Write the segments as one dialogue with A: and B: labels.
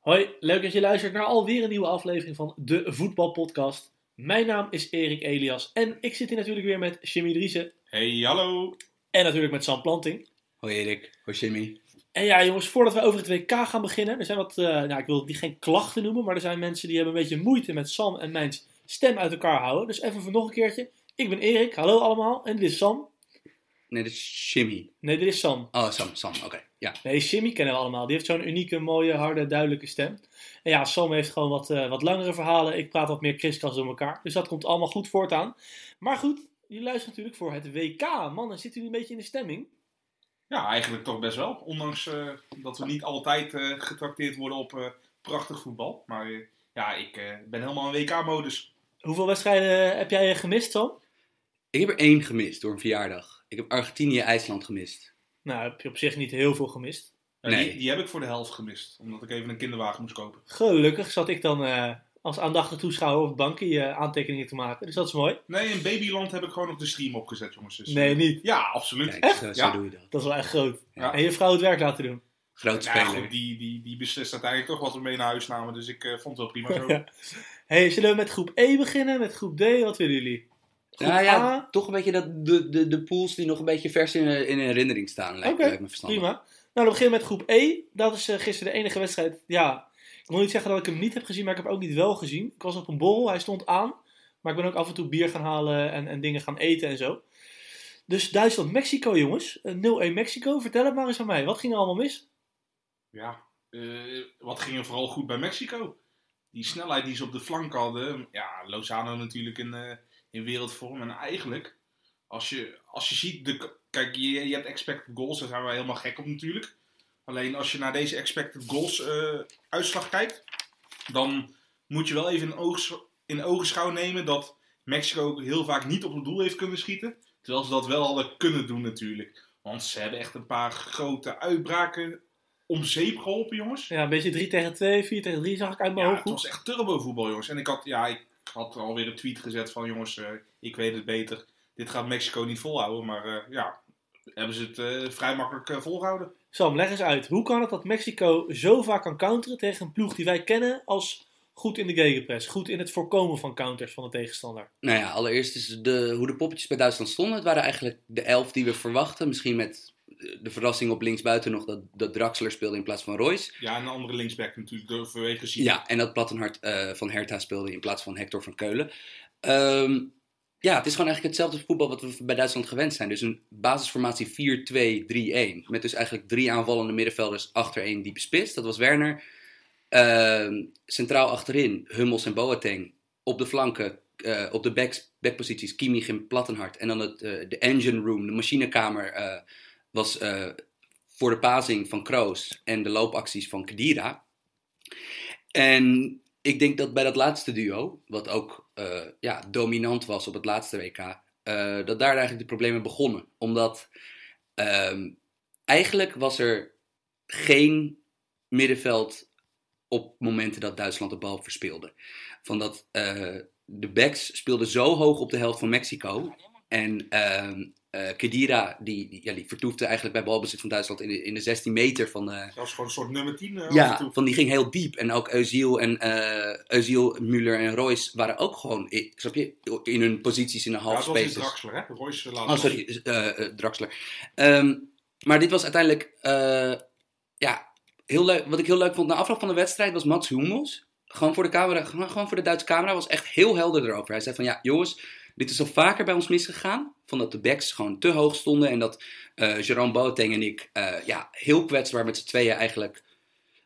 A: Hoi, leuk dat je luistert naar alweer een nieuwe aflevering van de Voetbalpodcast. Mijn naam is Erik Elias en ik zit hier natuurlijk weer met Jimmy Driessen
B: Hey, hallo.
A: en natuurlijk met Sam Planting.
C: Hoi Erik, hoi Jimmy.
A: En ja, jongens, voordat we over het WK gaan beginnen, er zijn wat, eh, nou, ik wil die geen klachten noemen, maar er zijn mensen die hebben een beetje moeite met Sam en mijn stem uit elkaar houden. Dus even voor nog een keertje. Ik ben Erik, hallo allemaal, en dit is Sam.
C: Nee, dat is Jimmy.
A: Nee, dit is Sam.
C: Oh, Sam, Sam, oké. Ja.
A: Nee, Jimmy kennen we allemaal. Die heeft zo'n unieke, mooie, harde, duidelijke stem. En ja, Sam heeft gewoon wat, eh, wat langere verhalen. Ik praat wat meer kriskast door elkaar. Dus dat komt allemaal goed voortaan. Maar goed, jullie luisteren natuurlijk voor het WK. Mannen, zitten jullie een beetje in de stemming?
B: Ja, eigenlijk toch best wel. Ondanks eh, dat we niet altijd eh, getrakteerd worden op eh, prachtig voetbal. Maar eh, ja, ik eh, ben helemaal in WK-modus.
A: Hoeveel wedstrijden heb jij eh, gemist, Sam?
C: Ik heb er één gemist door een verjaardag. Ik heb Argentinië-IJsland gemist.
A: Nou, heb je op zich niet heel veel gemist.
B: Nou,
C: Nee.
B: Die, die heb ik voor de helft gemist. Omdat ik even een kinderwagen moest kopen.
A: Gelukkig zat ik dan eh, als aandachtig toeschouwer op het bankje eh, aantekeningen te maken. Dus dat is mooi.
B: Nee, in Babyland heb ik gewoon op de stream opgezet, jongens. Dus, eh,
A: Nee, niet.
B: Ja, absoluut.
C: Kijk, zo, zo
B: Ja.
C: doe je dat.
A: Dat is wel echt groot.
B: Ja.
A: En je vrouw het werk laten doen.
C: Groot
B: Nou ja,
C: speler.
B: goed, die, die, die beslist uiteindelijk toch wat we mee naar huis namen. Dus ik eh, vond het wel prima zo.
A: Ja. Hey, zullen we met groep E beginnen? Met groep D? Wat willen jullie? Groep
C: nou ja,
B: Ah.
A: A?
C: toch een beetje dat, de, de, de pools die nog een beetje vers in, in herinnering staan, lijkt,
A: Oké,
C: lijkt me verstandig.
A: Prima. Nou, dan beginnen we met groep E. Dat is eh, gisteren de enige wedstrijd. Ja, ik wil niet zeggen dat ik hem niet heb gezien, maar ik heb hem ook niet wel gezien. Ik was op een borrel, hij stond aan. Maar ik ben ook af en toe bier gaan halen en, en dingen gaan eten en zo. Dus Duitsland-Mexico, jongens. Eh, 0-1 Mexico. Vertel het maar eens aan mij. Wat ging er allemaal mis?
B: Ja, eh, wat ging er vooral goed bij Mexico? Die snelheid die ze op de flank hadden. Ja, Lozano natuurlijk in, eh, in wereldvorm. En eigenlijk, als je, als je ziet... De, k- kijk, je, je hebt expected goals. Daar zijn we helemaal gek op natuurlijk. Alleen als je naar deze expected goals eh, uitslag kijkt... dan moet je wel even in, oogs, in ogenschouw nemen... dat Mexico ook heel vaak niet op het doel heeft kunnen schieten. Terwijl ze dat wel hadden kunnen doen natuurlijk. Want ze hebben echt een paar grote uitbraken om zeep geholpen, jongens.
A: Ja, een beetje 3 tegen 2, 4 tegen 3 zag ik uit mijn
B: Ja,
A: hoofd.
B: het was echt turbo voetbal, jongens. En ik had, ja, ik had alweer een tweet gezet van, jongens, eh, ik weet het beter. Dit gaat Mexico niet volhouden, maar eh, ja, hebben ze het eh, vrij makkelijk eh, volgehouden.
A: Sam, leg eens uit. Hoe kan het dat Mexico zo vaak kan counteren tegen een ploeg die wij kennen als goed in de gegenpress? Goed in het voorkomen van counters van de tegenstander.
C: Nou ja, allereerst is de, hoe de poppetjes bij Duitsland stonden. Het waren eigenlijk de elf die we verwachten. Misschien met eh, de verrassing op linksbuiten nog dat, dat Draxler speelde in plaats van Royce.
B: Ja, en de andere linksback natuurlijk, door- vanwege ziek.
C: Ja, en dat Plattenhart eh, van Hertha speelde in plaats van Hector van Keulen. Ehm, ja, het is gewoon eigenlijk hetzelfde voetbal wat we bij Duitsland gewend zijn. Dus een basisformatie 4-2-3-1. Met dus eigenlijk drie aanvallende middenvelders achter één diepe spits. Dat was Werner. Ehm, centraal achterin Hummels en Boateng. Op de flanken, eh, op de backs, backposities Kimmich en Plattenhart. En dan het, eh, de engine room, de machinekamer, eh, was eh, voor de pasing van Kroos en de loopacties van Kedira. En ik denk dat bij dat laatste duo, wat ook eh, ja, dominant was op het laatste WK, eh, dat daar eigenlijk de problemen begonnen. Omdat ehm, eigenlijk was er geen middenveld op momenten dat Duitsland de bal verspeelde. Van dat eh, de backs speelden zo hoog op de helft van Mexico. En ehm eh, Kedira, die, die, ja, die vertoefde eigenlijk bij balbezit van Duitsland in de, in de 16 meter van de,
B: Dat was gewoon een soort nummer 10. eh, af en
C: ja,
B: toe.
C: van die ging heel diep. En ook Eusiel en eh Özil, Müller en Royce waren ook gewoon i- snap je, in hun posities in de
B: Ja,
C: half
B: het was in
C: spaces.
B: Draxler, hè? Royce eh, laat
C: Oh, sorry, eh, eh, Draxler. Ehm, maar dit was uiteindelijk, eh, ja, heel leuk. Wat ik heel leuk vond na afloop van de wedstrijd was Mats Hummels. Gewoon voor de camera, gewoon gewoon voor de Duitse camera, was echt heel helder erover. Hij zei van, ja, jongens, dit is al vaker bij ons misgegaan. Van dat de backs gewoon te hoog stonden en dat eh Jerome Boateng en ik, eh, ja, heel kwetsbaar met z'n tweeën eigenlijk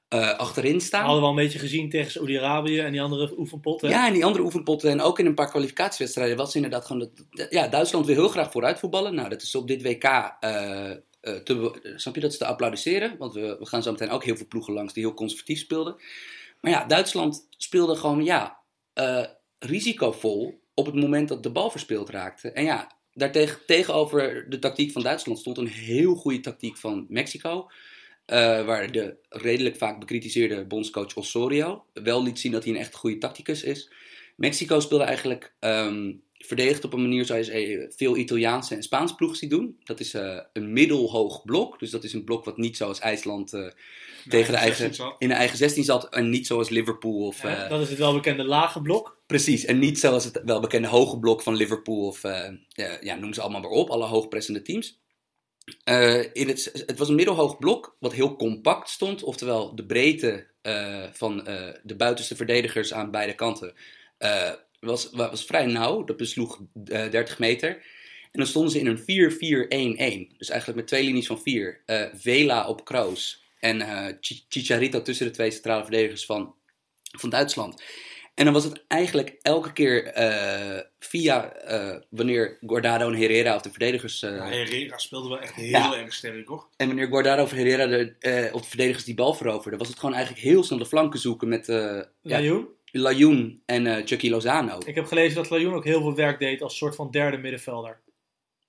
C: eh, achterin staan.
A: Hadden we al een beetje gezien tegen Saoedi-Arabië en die andere oefenpot. Hè?
C: Ja, en die andere oefenpotten en ook in een paar kwalificatiewedstrijden was inderdaad gewoon... Dat, ja, Duitsland wil heel graag vooruit voetballen. Nou, dat is op dit WK... eh, eh, te, be- snap je, dat is te applaudisseren. Want we, we gaan zo meteen ook heel veel ploegen langs die heel conservatief speelden. Maar ja, Duitsland speelde gewoon, ja, eh, risicovol op het moment dat de bal verspeeld raakte. En ja, daartegen, tegenover de tactiek van Duitsland stond een heel goede tactiek van Mexico. eh, waar de redelijk vaak bekritiseerde bondscoach Osorio wel liet zien dat hij een echt goede tacticus is. Mexico speelde eigenlijk ehm, verdedigt op een manier zoals je eh, veel Italiaanse en Spaanse ploeg ziet doen. Dat is eh, een middelhoog blok. Dus dat is een blok wat niet zoals IJsland eh, tegen de eigen, in de eigen 16 zat. En niet zoals Liverpool. Of, eh,
A: dat is het welbekende lage blok.
C: Precies, en niet zoals het welbekende hoge blok van Liverpool of eh, eh, ja, noem ze allemaal maar op, alle hoogpressende teams. Eh, in het, het was een middelhoog blok wat heel compact stond, oftewel de breedte eh, van eh, de buitenste verdedigers aan beide kanten eh, was, wa- was vrij nauw, dat besloeg eh, 30 meter. En dan stonden ze in een 4-4-1-1, dus eigenlijk met twee linies van vier. Eh, Vela op Kroos en eh, Chi- Chicharito tussen de twee centrale verdedigers van, van Duitsland. En dan was het eigenlijk elke keer eh, via eh, wanneer Guardado en Herrera of de verdedigers.
B: Ah,
C: eh,
B: Herrera speelde wel echt heel
C: Ja.
B: erg sterk, hoor.
C: En wanneer Guardado of Herrera de, eh, of de verdedigers die bal veroverden, was het gewoon eigenlijk heel snel de flanken zoeken met eh ja,
A: Lajoen.
C: Lajoen en eh, Chucky Lozano.
A: Ik heb gelezen dat Lajoen ook heel veel werk deed als soort van derde middenvelder.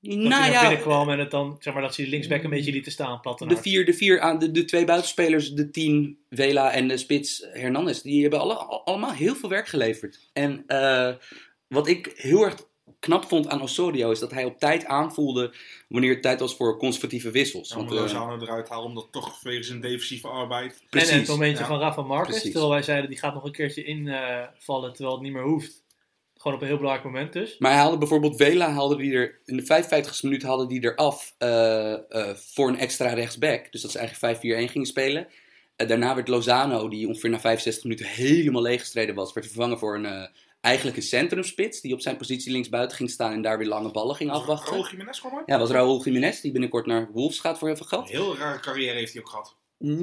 A: Dat
C: nou
A: hij naar binnen
C: ja,
A: kwam en het dan, zeg maar, dat ze die linksback een beetje lieten staan,
C: de
A: Plattenaar.
C: vier, de, vier aan, de, de twee buitenspelers, de tien, Vela en de spits eh, Hernandez, die hebben alle, al- allemaal heel veel werk geleverd. En eh, wat ik heel erg knap vond aan Osorio is dat hij op tijd aanvoelde wanneer het tijd was voor conservatieve wissels.
B: Dan moet
C: eh,
B: Lozano eruit halen, omdat toch wegens een defensieve arbeid.
C: precies.
A: En het momentje
B: ja.
A: van Rafa Marquez,
C: Precies.
A: terwijl wij zeiden die gaat nog een keertje invallen, terwijl het niet meer hoeft. Gewoon op een heel belangrijk moment dus.
C: Maar hij haalde bijvoorbeeld Vela haalde die er in de 55ste minuut haalde die eraf eh, eh, voor een extra rechtsback. Dus dat ze eigenlijk 5-4-1 gingen spelen. Eh, daarna werd Lozano, die ongeveer na 65 minuten helemaal leeggestreden was, werd vervangen voor een, eh, eigenlijk een centrumspits. Die op zijn positie linksbuiten ging staan en daar weer lange ballen ging afwachten.
B: Raúl Jiménez gewoon hoor.
C: Ja, was Raúl Jiménez, die binnenkort naar Wolves gaat voor heel veel
B: Een
C: geld.
B: heel rare carrière heeft hij ook gehad.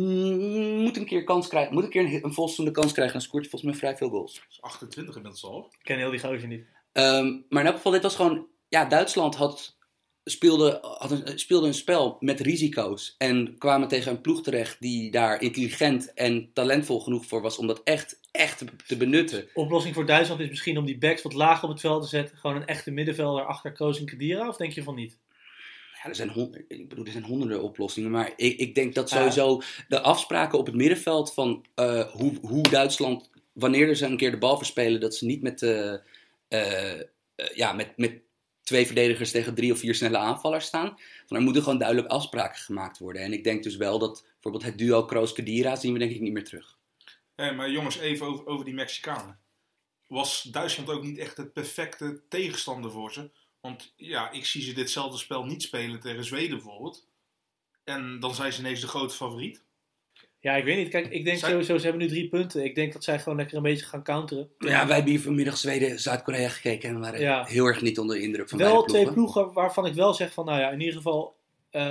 C: Mm, Moet een keer, kans krijgen, moet een, keer een, een volstoende kans krijgen, dan scoort hij volgens mij vrij veel goals.
B: Hij is 28 inmiddels al.
A: Ik ken heel die gozer niet.
C: Ehm, maar in elk geval, dit was gewoon... Ja, Duitsland had, speelde, had een, speelde een spel met risico's. En kwamen tegen een ploeg terecht die daar intelligent en talentvol genoeg voor was... om dat echt, echt te benutten.
A: Oplossing voor Duitsland is misschien om die backs wat lager op het veld te zetten. Gewoon een echte middenvelder achter Kroos en Kadira, of denk je van niet?
C: Ja, er zijn hon- ik bedoel, er zijn honderden oplossingen. Maar ik, ik denk dat sowieso de afspraken op het middenveld van eh, hoe, hoe Duitsland, wanneer ze een keer de bal verspelen, dat ze niet met, eh, eh, eh, ja, met, met twee verdedigers tegen drie of vier snelle aanvallers staan. Van, er moeten gewoon duidelijk afspraken gemaakt worden. En ik denk dus wel dat bijvoorbeeld het duo Kroos-Kadira zien we denk ik niet meer terug.
B: Hé, maar jongens, even over, over die Mexicanen. Was Duitsland ook niet echt het perfecte tegenstander voor ze? Want ja, ik zie ze ditzelfde spel niet spelen tegen Zweden bijvoorbeeld. En dan zijn ze ineens de grote favoriet.
A: Ja, ik weet niet. Kijk, ik denk
B: Zij-
A: sowieso, ze hebben nu drie punten. Ik denk dat zij gewoon lekker een beetje gaan counteren.
C: Ja, wij hebben hier vanmiddag Zweden-Zuid-Korea gekeken en waren
A: Ja.
C: heel erg niet onder de indruk van
A: wel
C: beide
A: twee
C: ploegen.
A: ploegen waarvan ik wel zeg van, nou ja, in ieder geval eh,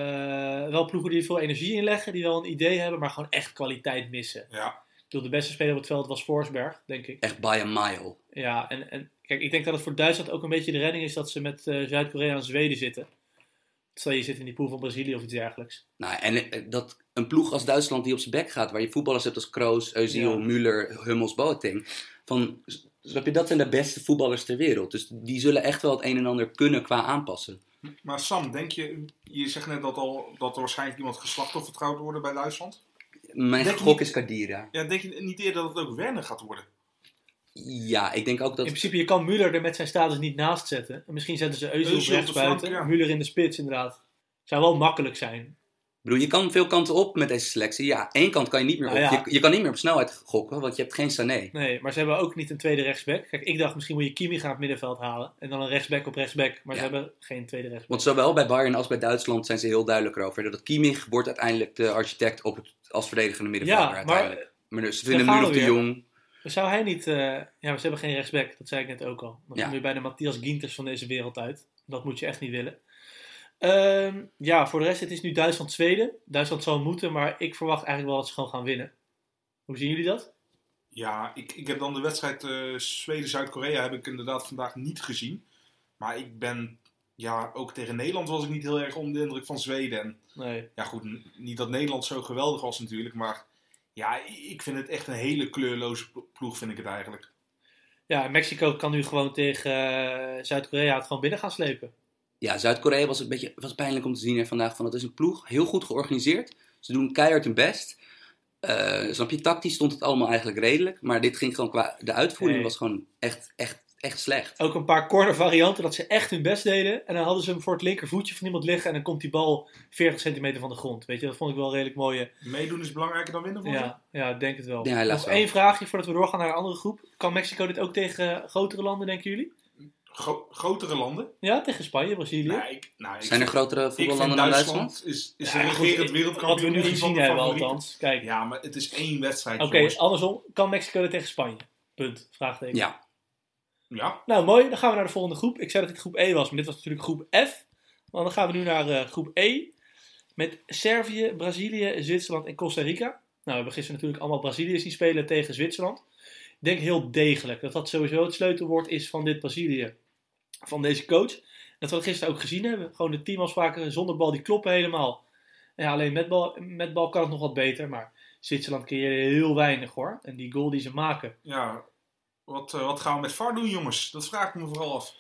A: wel ploegen die er veel energie in leggen, die wel een idee hebben, maar gewoon echt kwaliteit missen.
B: Ja,
A: Ik bedoel, de beste speler op het veld was Forsberg, denk ik.
C: Echt by a mile.
A: Ja, en, en kijk, ik denk dat het voor Duitsland ook een beetje de redding is dat ze met eh, Zuid-Korea en Zweden zitten. Stel je zit in die pool van Brazilië of iets dergelijks.
C: Nou, en eh, dat een ploeg als Duitsland die op zijn bek gaat, waar je voetballers hebt als Kroos, Özil,
A: Ja.
C: Müller, Hummels, Boateng, van, s- snap je, dat zijn de beste voetballers ter wereld. Dus die zullen echt wel het een en ander kunnen qua aanpassen.
B: maar Sam, denk je, je zegt net dat, al, dat er waarschijnlijk iemand geslachtoffer gaat worden bij Duitsland.
C: Mijn
B: Denk je
C: gok
B: niet-
C: is Kadira.
B: Ja, denk je niet eerder dat het ook Werner gaat worden?
C: Ja, ik denk ook dat...
A: In principe, je kan Müller er met zijn status niet naast zetten. En misschien zetten ze
B: Özil
A: Eusiel
B: op de
A: rechts buiten,
B: flank,
A: Müller in de spits inderdaad. Zou wel makkelijk zijn.
C: Ik bedoel, je kan veel kanten op met deze selectie. Ja, één kant kan je niet meer op.
A: Nou ja.
C: Je, je kan niet meer op snelheid gokken, want je hebt geen Sané.
A: Nee, maar ze hebben ook niet een tweede rechtsback. Kijk, ik dacht misschien moet je Kimi gaan het middenveld halen. En dan een rechtsback op rechtsback. Maar
C: Ja.
A: ze hebben geen tweede rechtsback.
C: Want zowel bij Bayern als bij Duitsland zijn ze heel duidelijk erover. Dat Kimmich wordt uiteindelijk de architect op het, als verdedigende middenvelder
A: maar-
C: uiteindelijk. Maar dus ze
A: Daar
C: vinden
A: gaan
C: hem nu nog
A: we
C: te
A: weer.
C: jong.
A: Zou hij niet... eh, Ja, maar ze hebben geen rechtsback. Dat zei ik net ook al. Dan
C: Ja.
A: kom je bij de Matthias Ginters van deze wereld uit. Dat moet je echt niet willen. Ehm, ja, voor de rest, het is nu Duitsland-Zweden. Duitsland zal moeten, maar ik verwacht eigenlijk wel dat ze gewoon gaan winnen. Hoe zien jullie dat?
B: Ja, ik, ik heb dan de wedstrijd eh, Zweden-Zuid-Korea heb ik inderdaad vandaag niet gezien. Maar ik ben, ja, ook tegen Nederland was ik niet heel erg onder de indruk van Zweden. En
A: Nee.
B: ja, goed, n- niet dat Nederland zo geweldig was natuurlijk, maar ja, i- ik vind het echt een hele kleurloze plo- ploeg, vind ik het eigenlijk.
A: Ja, en Mexico kan nu gewoon tegen eh, Zuid-Korea het gewoon binnen gaan slepen.
C: Ja, Zuid-Korea was een beetje was pijnlijk om te zien hè, vandaag. Van, het is een ploeg, heel goed georganiseerd. Ze doen keihard hun best. Eh, snap je, tactisch stond het allemaal eigenlijk redelijk. Maar dit ging gewoon qua... De uitvoering
A: Nee.
C: was gewoon echt, echt, echt slecht.
A: Ook een paar corner varianten dat ze echt hun best deden. En dan hadden ze hem voor het linkervoetje van iemand liggen. En dan komt die bal 40 centimeter van de grond. Weet je, dat vond ik wel redelijk mooie.
B: Meedoen is belangrijker dan winnen, volgens mij.
A: Ja, ja ik denk het wel.
C: Ja, helaas
A: Nog
C: wel.
A: één vraagje voordat we doorgaan naar een andere groep. Kan Mexico dit ook tegen eh, grotere landen, denken jullie?
B: Gro- grotere landen.
A: Ja, tegen Spanje, Brazilië.
B: Nou, ik, nou, ik
C: Zijn er
B: vind-
C: grotere
B: ik vind
C: voetballanden dan Duitsland?
B: is, is
A: Ja,
B: een
A: goed,
B: regerend wereldkampioen.
A: Wat we nu
B: in ieder geval
A: gezien
B: de
A: hebben
B: favoriet.
A: althans. Kijk,
B: Ja, maar het is één wedstrijd,
A: oké,
B: jongens.
A: andersom. Kan Mexico dit tegen Spanje? Punt, vraagteken.
C: Ja,
B: Ja,
A: Nou, mooi. Dan gaan we naar de volgende groep. Ik zei dat dit groep E was, maar dit was natuurlijk groep F. Maar dan gaan we nu naar eh, groep E. Met Servië, Brazilië, Zwitserland en Costa Rica. Nou, we hebben gisteren natuurlijk allemaal Brazilië zien spelen tegen Zwitserland. Ik denk heel degelijk dat dat sowieso het sleutelwoord is van dit Brazilië. Van deze coach. Dat we dat gisteren ook gezien hebben. Gewoon de teamafspraken zonder bal, die kloppen helemaal. En ja, alleen met bal, met bal kan het nog wat beter. Maar Zwitserland creëerde heel weinig hoor. En die goal die ze maken.
B: ja. Wat, eh, wat gaan we met VAR doen, jongens? Dat vraag ik me vooral af.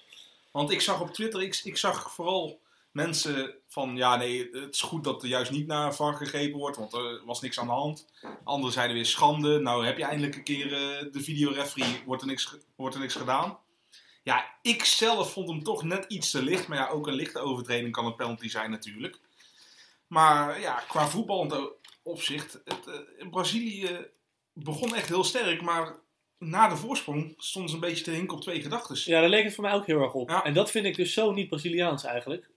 B: Want ik zag op Twitter, ik, ik zag vooral mensen van... Ja, nee, het is goed dat er juist niet naar VAR gegrepen wordt, want er was niks aan de hand. Anderen zeiden weer schande. Nou, heb je eindelijk een keer eh, de videoreferee, wordt er, niks, ge- wordt er niks gedaan. Ja, ik zelf vond hem toch net iets te licht. Maar ja, ook een lichte overtreding kan een penalty zijn natuurlijk. Maar ja, qua voetbal opzicht, het, eh, Brazilië begon echt heel sterk, maar na de voorsprong stonden ze een beetje te hinken op twee gedachten.
A: Ja, daar leek het voor mij ook heel erg op.
B: Ja.
A: En dat vind ik dus zo niet Braziliaans eigenlijk.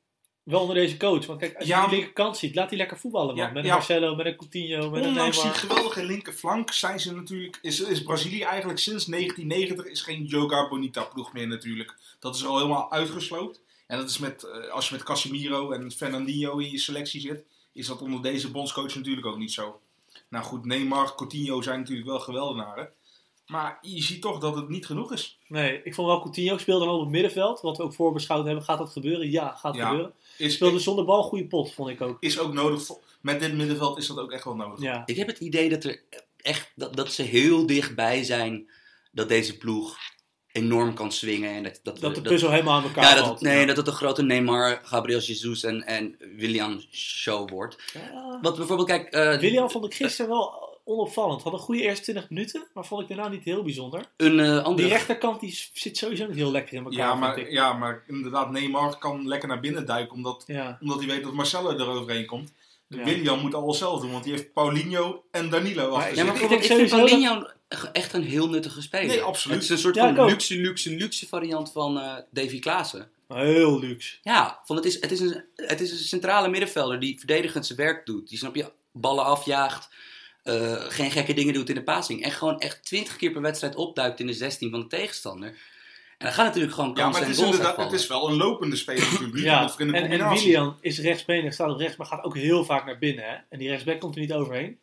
A: Wel onder deze coach. Want kijk, als je
B: Ja,
A: die
B: maar-
A: linkerkant ziet, laat die lekker voetballen, man.
B: Ja,
A: met een
B: ja.
A: Marcelo, met een Coutinho, met een
B: Ondanks die
A: Neymar.
B: geweldige linkerflank zijn ze natuurlijk, is, is Brazilië eigenlijk sinds 1990 is geen Joga Bonita ploeg meer natuurlijk. Dat is er al helemaal uitgesloopt. En dat is met, eh, als je met Casemiro en Fernandinho in je selectie zit, is dat onder deze bondscoach natuurlijk ook niet zo. Nou goed, Neymar, Coutinho zijn natuurlijk wel geweldenaren. Maar je ziet toch dat het niet genoeg is.
A: Nee, ik vond wel Coutinho speelde dan op het middenveld. Wat we ook voorbeschouwd hebben. Gaat dat gebeuren? Ja, gaat
B: Ja.
A: gebeuren.
B: Is,
A: Speelde zonder bal een goede pot, vond ik ook.
B: is ook nodig. voor- met dit middenveld is dat ook echt wel nodig.
A: Ja.
C: ik heb het idee dat, er echt, dat, dat ze heel dichtbij zijn dat deze ploeg enorm kan swingen. En dat, dat, we-
A: Dat de
C: dat-
A: puzzel helemaal aan elkaar
C: ja, dat,
A: valt.
C: nee,
A: Ja.
C: dat het een grote Neymar, Gabriel Jesus en, en William show wordt.
A: Ja.
C: Wat bijvoorbeeld, kijk, eh,
A: William vond ik gisteren wel onopvallend. Had een goede eerste 20 minuten, maar vond ik daarna niet heel bijzonder.
C: een eh,
A: Die
C: andere
A: rechterkant die zit sowieso niet heel lekker in elkaar,
B: Ja
A: vind
B: maar,
A: ik.
B: ja, maar inderdaad, Neymar kan lekker naar binnen duiken, omdat,
A: Ja.
B: omdat hij weet dat Marcelo er overheen komt.
A: Ja.
B: William moet alles zelf doen, want die heeft Paulinho en Danilo
A: Maar-
B: achter
C: Ja,
B: zich.
C: maar
A: Ik
C: bijvoorbeeld, ik,
A: denk
C: vind
A: sowieso
C: Paulinho echt een heel nuttige speler.
B: Nee, absoluut.
C: Het is een soort
A: Ja, ik
C: van
A: ook.
C: luxe, luxe, luxe variant van eh, Davy Klaassen.
A: Heel luxe.
C: Ja, van het, is, het, is een, het is een centrale middenvelder die verdedigend zijn werk doet. Die, snap je, ballen afjaagt, eh, geen gekke dingen doet in de passing. En gewoon echt twintig keer per wedstrijd opduikt in de 16 van de tegenstander. En dan gaat natuurlijk gewoon
B: Ja,
C: kansen
B: maar het
C: en
B: is
C: goals
B: inderdaad, het
C: uitvallen.
B: is wel een lopende speler natuurlijk. niet
A: Ja,
B: omdat we dus in
A: en,
B: een
A: en
B: combinatie-
A: Willian is rechtsbenig, staat op rechts, maar gaat ook heel vaak naar binnen. Hè? En die rechtsback komt er niet overheen.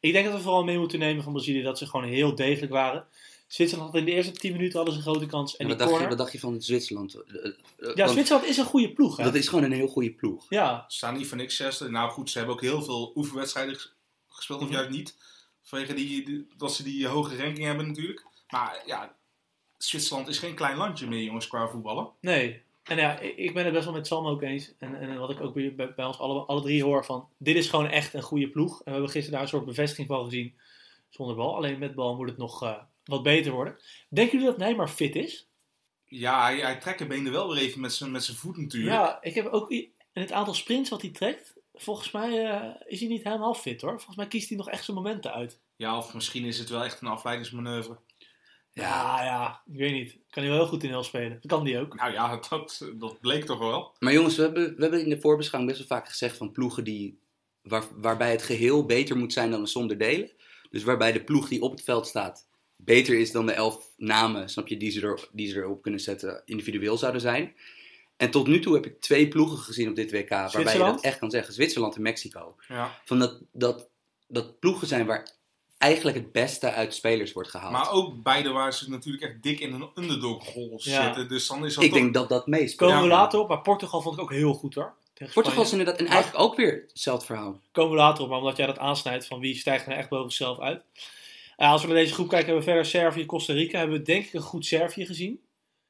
A: Ik denk dat we vooral mee moeten nemen van Brazilië dat ze gewoon heel degelijk waren. Zwitserland had in de eerste 10 minuten hadden ze een grote kans. En
C: En wat,
A: die
C: dacht je,
A: corner.
C: wat dacht je van Zwitserland? Eh, eh,
A: Ja,
C: want
A: Zwitserland is een goede ploeg. Hè?
C: Dat is gewoon een heel goede ploeg.
A: Ja,
B: Ze staan niet voor niks zesde. Nou goed, ze hebben ook heel veel oefenwedstrijden ges- gespeeld, of
A: Mhm.
B: juist niet. Vanwege die, die- dat ze die hoge ranking hebben natuurlijk. Maar ja, Zwitserland is geen klein landje meer, jongens, qua voetballen.
A: nee. En ja, ik ik ben het best wel met Sam ook eens. En, en wat ik ook bij, bij bij ons alle, alle drie hoor van, dit is gewoon echt een goede ploeg. En we hebben gisteren daar een soort bevestiging van gezien. Zonder bal, alleen met bal moet het nog eh, wat beter worden. Denken jullie dat Neymar fit is?
B: Ja, hij, hij trekt de benen wel weer even met zijn met zijn voet natuurlijk.
A: Ja, ik heb ook i- in het aantal sprints wat hij trekt. Volgens mij eh, is hij niet helemaal fit hoor. Volgens mij kiest hij nog echt zijn momenten uit.
B: Ja, of misschien is het wel echt een afleidingsmanoeuvre.
C: Ja,
A: ja, ja, ik weet niet. Kan hij wel heel goed in heel spelen. Dat kan die ook.
B: Nou ja, dat, dat bleek toch wel.
C: Maar jongens, we hebben, we hebben in de voorbeschouwing best wel vaak gezegd van ploegen die, waar, waarbij het geheel beter moet zijn dan een zonder delen. Dus waarbij de ploeg die op het veld staat beter is dan de elf namen, snap je, die ze, er, die ze erop kunnen zetten, individueel zouden zijn. En tot nu toe heb ik twee ploegen gezien op dit WK waarbij je
A: Zwitserland?
C: dat echt kan zeggen. Zwitserland en Mexico.
B: Ja.
C: Van dat, dat, dat ploegen zijn waar eigenlijk het beste uit spelers wordt gehaald.
B: Maar ook beide waren ze natuurlijk echt dik in een underdog hole
A: Ja.
B: zitten. Dus dan is dat
C: ik
B: toch-
C: denk dat dat meespeelt.
A: Komen we
B: Ja.
A: later op. Maar Portugal vond ik ook heel goed hoor. Tegen
C: Portugal is
A: Spanje.
C: inderdaad, en eigenlijk ook weer hetzelfde verhaal.
A: Komen we later op. Maar omdat jij dat aansnijdt van wie stijgt er nou echt boven zichzelf uit. Eh, als we naar deze groep kijken hebben we verder Servië, Costa Rica. Hebben we denk ik een goed Servië gezien.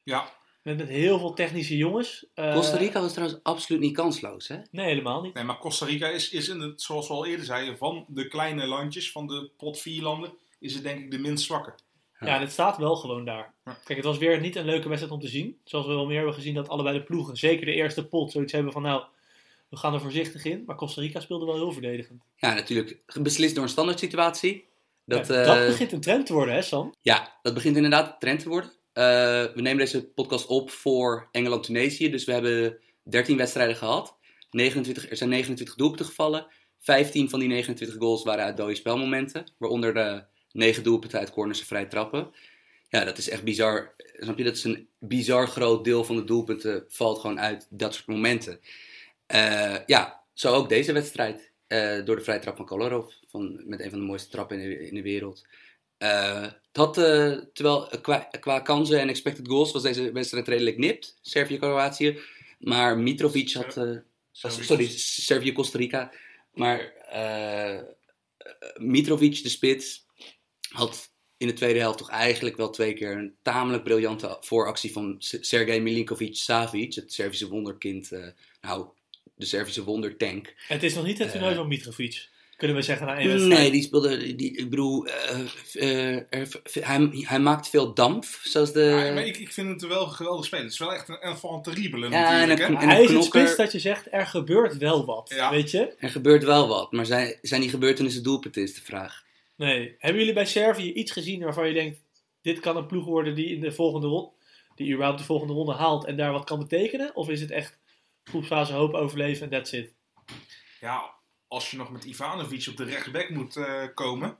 B: Ja,
A: Met, met heel veel technische jongens. Eh,
C: Costa Rica was trouwens absoluut niet kansloos, hè?
A: Nee, helemaal niet.
B: nee, maar Costa Rica is, is in het, zoals we al eerder zeiden, van de kleine landjes, van de pot vier landen, is het denk ik de minst zwakke.
A: Ja, en het staat wel gewoon daar. Kijk, het was weer niet een leuke wedstrijd om te zien. Zoals we wel meer hebben gezien dat allebei de ploegen, zeker de eerste pot, zoiets hebben van nou, we gaan er voorzichtig in. Maar Costa Rica speelde wel heel verdedigend.
C: Ja, natuurlijk beslist door een standaard situatie. Dat,
A: Ja,
C: eh,
A: dat begint een trend te worden, hè Sam?
C: Ja, dat begint inderdaad een trend te worden. Eh, we nemen deze podcast op voor Engeland-Tunesië. Dus we hebben 13 wedstrijden gehad. 29, er zijn 29 doelpunten gevallen. 15 van die 29 goals waren uit dode spelmomenten. Waaronder de 9 doelpunten uit corners en vrij trappen. Ja, dat is echt bizar. Snap je? Dat is een bizar groot deel van de doelpunten valt gewoon uit dat soort momenten. Eh, ja, zo ook deze wedstrijd. eh, door de vrije trap van Kolarov. Van, met een van de mooiste trappen in de, in de wereld. Eh, het had, eh, terwijl eh, qua, qua kansen en expected goals was deze wedstrijd redelijk nipt. Servië-Kroatië. Maar Mitrovic had... eh, eh, sorry, Servië-Costa Rica. Maar eh, eh, Mitrovic, de spits, had in de tweede helft toch eigenlijk wel twee keer een tamelijk briljante vooractie van S- Sergej Milinkovic-Savic, het Servische wonderkind. eh, nou, de Servische wondertank.
A: Het is nog niet het toernooi van Mitrovic, kunnen we zeggen na één wedstrijd.
C: Nee, die speelde. Die, ik bedoel, eh, eh, er- hij, hij maakt veel damp, zoals de.
B: Ja, maar ik, ik vind het wel een geweldig spelen. Het is wel echt een enfant terrible
C: Eh, Ja,
B: natuurlijk.
C: en
B: hè?
C: dat-
A: hij is het
C: knokker-
A: spits dat je zegt, er gebeurt wel wat,
B: Ja.
A: weet je?
C: Er gebeurt wel wat, maar zijn, zijn die gebeurtenissen doelpunten, is de vraag.
A: Nee. Hebben jullie bij Servië iets gezien waarvan je denkt: dit kan een ploeg worden die in de volgende ronde, die überhaupt de volgende ronde haalt en daar wat kan betekenen? Of is het echt groepsfase hoop overleven en that's it?
B: Ja, als je nog met Ivanovic op de rechtsback moet eh, komen.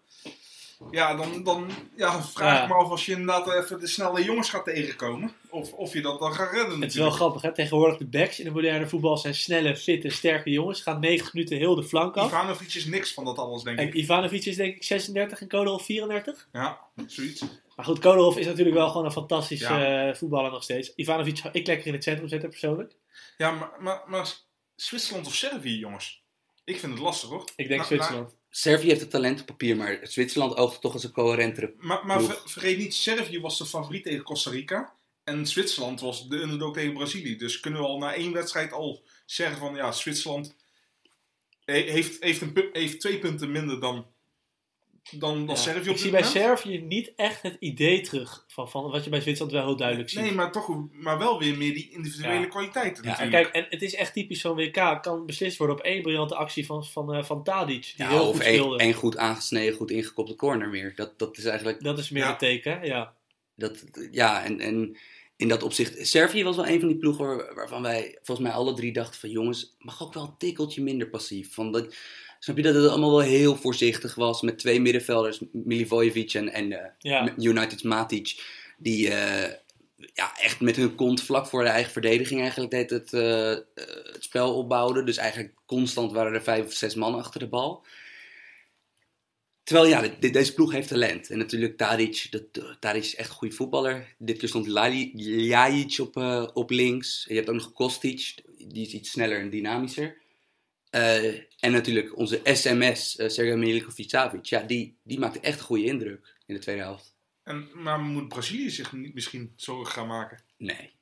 B: Ja, dan, dan ja, vraag
A: Ja.
B: ik me af als je inderdaad even de snelle jongens gaat tegenkomen. Of, of je dat dan gaat redden
A: Het is wel
B: natuurlijk.
A: grappig, hè? Tegenwoordig de backs in de moderne voetbal zijn snelle, fitte, sterke jongens. Gaan 90 minuten heel de flank af.
B: Ivanovic is niks van dat alles, denk ik.
A: En Ivanovic is denk ik 36 en Kolarov 34.
B: Ja, zoiets.
A: Maar goed, Kolarov is natuurlijk wel gewoon een fantastische
B: Ja.
A: eh, voetballer nog steeds. Ivanovic zou ik lekker in het centrum zetten persoonlijk.
B: Ja, maar, maar, maar Zwitserland of Servië, jongens? Ik vind het lastig, hoor.
A: Ik denk
B: Nou,
A: Zwitserland.
C: Servië heeft het talent op papier, maar Zwitserland oogt toch als een coherentere.
B: Maar, maar
C: Ploeg.
B: ver- vergeet niet, Servië was de favoriet tegen Costa Rica. En Zwitserland was de underdog tegen Brazilië. Dus kunnen we al na één wedstrijd al zeggen van... Ja, Zwitserland he- heeft, heeft, een, pu- heeft twee punten minder dan, dan, dan
A: Ja.
B: Servië op
A: ik
B: dit
A: zie bij
B: moment.
A: Servië niet echt het idee terug van, van wat je bij Zwitserland wel heel duidelijk ziet.
B: Nee, maar toch maar wel weer meer die individuele
A: Ja.
B: kwaliteiten
C: Ja, en
A: En
B: natuurlijk.
A: kijk, en het is echt typisch zo'n WK. Kan beslist worden op één briljante actie van, van, eh, van Tadic. Die
C: Ja,
A: heel
C: of
A: goed
C: één
A: speelde.
C: één goed aangesneden, goed ingekopte corner meer. Dat, dat is eigenlijk.
A: Dat is meer
B: Ja.
A: een teken, hè? ja.
C: Dat, ja, en, en in dat opzicht. Servië was wel een van die ploegen waar- waarvan wij volgens mij alle drie dachten: van jongens, mag ook wel een tikkeltje minder passief. Van dat, snap je dat het allemaal wel heel voorzichtig was met twee middenvelders, Milivojevic en, en eh,
A: ja.
C: United's Matic, die eh, ja, echt met hun kont vlak voor de eigen verdediging eigenlijk deed het, eh, eh, het spel opbouwden. Dus eigenlijk constant waren er vijf of zes man achter de bal. Terwijl ja, dit- dit- deze ploeg heeft talent. En natuurlijk Tadic, dat, eh, Tadic is echt een goede voetballer. Dit keer stond Lali- Ljajic op, eh, op links. En je hebt ook nog Kostic, die is iets sneller en dynamischer. Eh, en natuurlijk onze SMS, eh Sergej Milinkovic-Savic. Ja, die, die maakte echt een goede indruk in de tweede helft.
B: En, maar moet Brazilië zich niet misschien zorgen gaan maken?
C: Nee.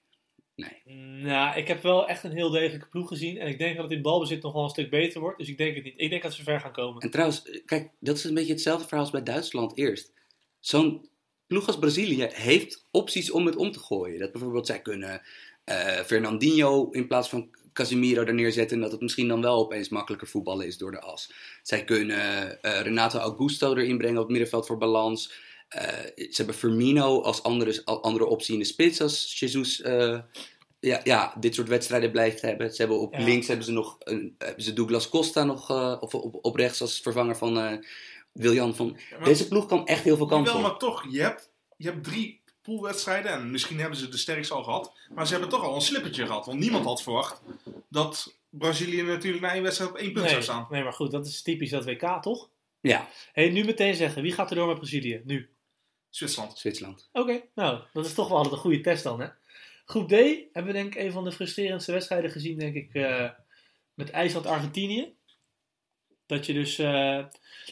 A: Nou, ik heb wel echt een heel degelijke ploeg gezien. En ik denk dat het in balbezit nog wel een stuk beter wordt. Dus ik denk het niet. Ik denk dat ze ver gaan komen.
C: En trouwens, eh, kijk, dat is een beetje hetzelfde verhaal als bij Duitsland eerst. Zo'n ploeg als Brazilië heeft opties om het om te gooien. Dat bijvoorbeeld zij kunnen eh, Fernandinho in plaats van Casemiro er neerzetten. En dat het misschien dan wel opeens makkelijker voetballen is door de as. Zij kunnen eh, Renato Augusto erin brengen op het middenveld voor balans. Eh, ze hebben Firmino als andere, als andere optie in de spits als Jesus eh, ja, ja, dit soort wedstrijden blijft hebben. Ze hebben op
A: Ja.
C: links hebben ze nog een, eh, hebben ze Douglas Costa nog, eh, of op, op rechts als vervanger van eh Wiljan van.
B: Ja, maar-
C: Deze ploeg kan echt heel veel kansen.
B: Jawel,
C: op.
B: maar toch, je hebt, je hebt drie poolwedstrijden en misschien hebben ze de sterkste al gehad. Maar ze hebben toch al een slippertje gehad. Want niemand had verwacht dat Brazilië natuurlijk na één wedstrijd op één punt
A: Nee,
B: zou staan.
A: nee, maar goed, dat is typisch dat WK, toch?
C: Ja,
A: hey, nu meteen zeggen. Wie gaat er door met Brazilië? Nu.
B: Zwitserland.
C: Zwitserland.
A: Oké, nou, dat is toch wel altijd een goede test dan, hè? Groep D hebben we denk ik een van de frustrerendste wedstrijden gezien, denk ik, eh, met IJsland-Argentinië. Dat je dus, eh,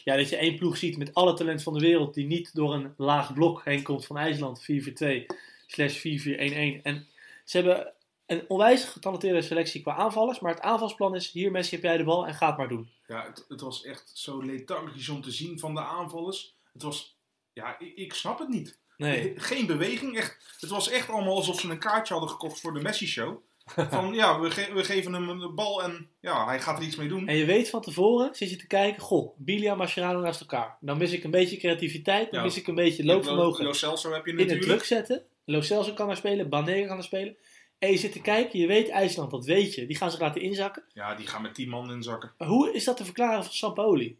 A: ja, dat je één ploeg ziet met alle talent van de wereld die niet door een laag blok heen komt van IJsland, 4-4-2 slash 4-4-1-1. En ze hebben een onwijs getalenteerde selectie qua aanvallers, maar het aanvalsplan is, hier Messi heb jij de bal en ga het maar doen.
B: Ja, het, het was echt zo lethargisch om te zien van de aanvallers. Het was, ja, ik, ik snap het niet.
A: Nee.
B: Geen beweging. Echt, het was echt allemaal alsof ze een kaartje hadden gekocht voor de Messi-show. Van ja, we, ge- we geven hem de bal en ja, hij gaat er iets mee doen.
A: En je weet van tevoren, zit je te kijken, goh, Bilia en Mascherano naast elkaar. Dan mis ik een beetje creativiteit, dan
B: Ja.
A: mis ik een beetje
B: Lo- Lo
A: loopvermogen.
B: Celso heb je
A: In het
B: natuurlijk.
A: druk zetten. Lo Celso kan daar spelen, Banega kan daar spelen. En je zit te kijken, je weet IJsland, dat weet je. Die gaan zich laten inzakken.
B: Ja, die gaan met 10 man inzakken.
A: Maar hoe is dat te verklaren van Sampaoli?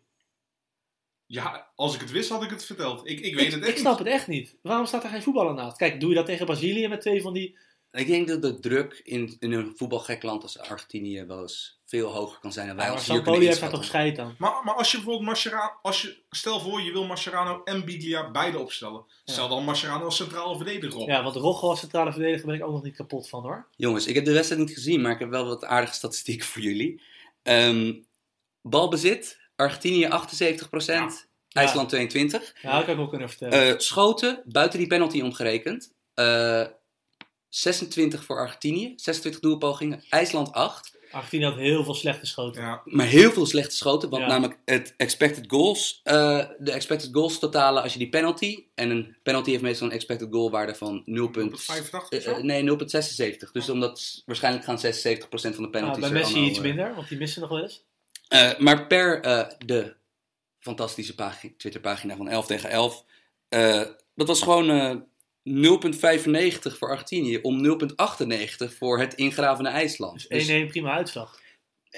B: Ja, als ik het wist had ik het verteld. Ik, ik weet het echt
A: Ik snap het echt niet. Waarom staat er geen voetballer naast? Kijk, doe je dat tegen Brazilië met twee van die...
C: Ik denk dat de druk in, in een voetbalgek land als Argentinië wel eens veel hoger kan zijn dan wij
A: Maar
C: als hier
A: Sampaoli
C: kunnen
A: heeft daar toch
C: inschatten.
A: scheid aan.
B: Maar, maar als je bijvoorbeeld Mascherano, als je, stel voor je wil Mascherano en Biglia beide opstellen. Stel dan Mascherano als centrale verdediger op.
A: Ja, want Rojo als centrale verdediger ben ik ook nog niet kapot van hoor.
C: Jongens, ik heb de wedstrijd niet gezien, maar ik heb wel wat aardige statistieken voor jullie. Ehm, balbezit, Argentinië 78%, IJsland 22%.
A: Ja, dat kan ik wel kunnen vertellen.
C: Eh, schoten, buiten die penalty omgerekend. eh, 26 voor Argentinië, 26 doelpogingen. IJsland 8.
A: Argentinië had heel veel slechte schoten.
B: Ja,
C: Maar heel veel slechte schoten, want
A: Ja.
C: namelijk het expected goals. eh, de expected goals totalen als je die penalty. En een penalty heeft meestal een expected goal waarde van 0.
B: op het 85 of
C: eh, eh,
B: zo.
C: nee, 0,76. Dus omdat waarschijnlijk gaan 76% van de
A: Nou,
C: penalties.
A: bij
C: er
A: Messi
C: allemaal,
A: iets
C: eh,
A: minder, want die missen nog wel eens.
C: eh, maar per eh, de fantastische pagi- Twitterpagina van 11 tegen 11. eh, dat was gewoon eh, 0,95 voor Argentinië om 0,98 voor het ingravene IJsland. Dus 1-1.
A: Dus 1-1 prima uitslag.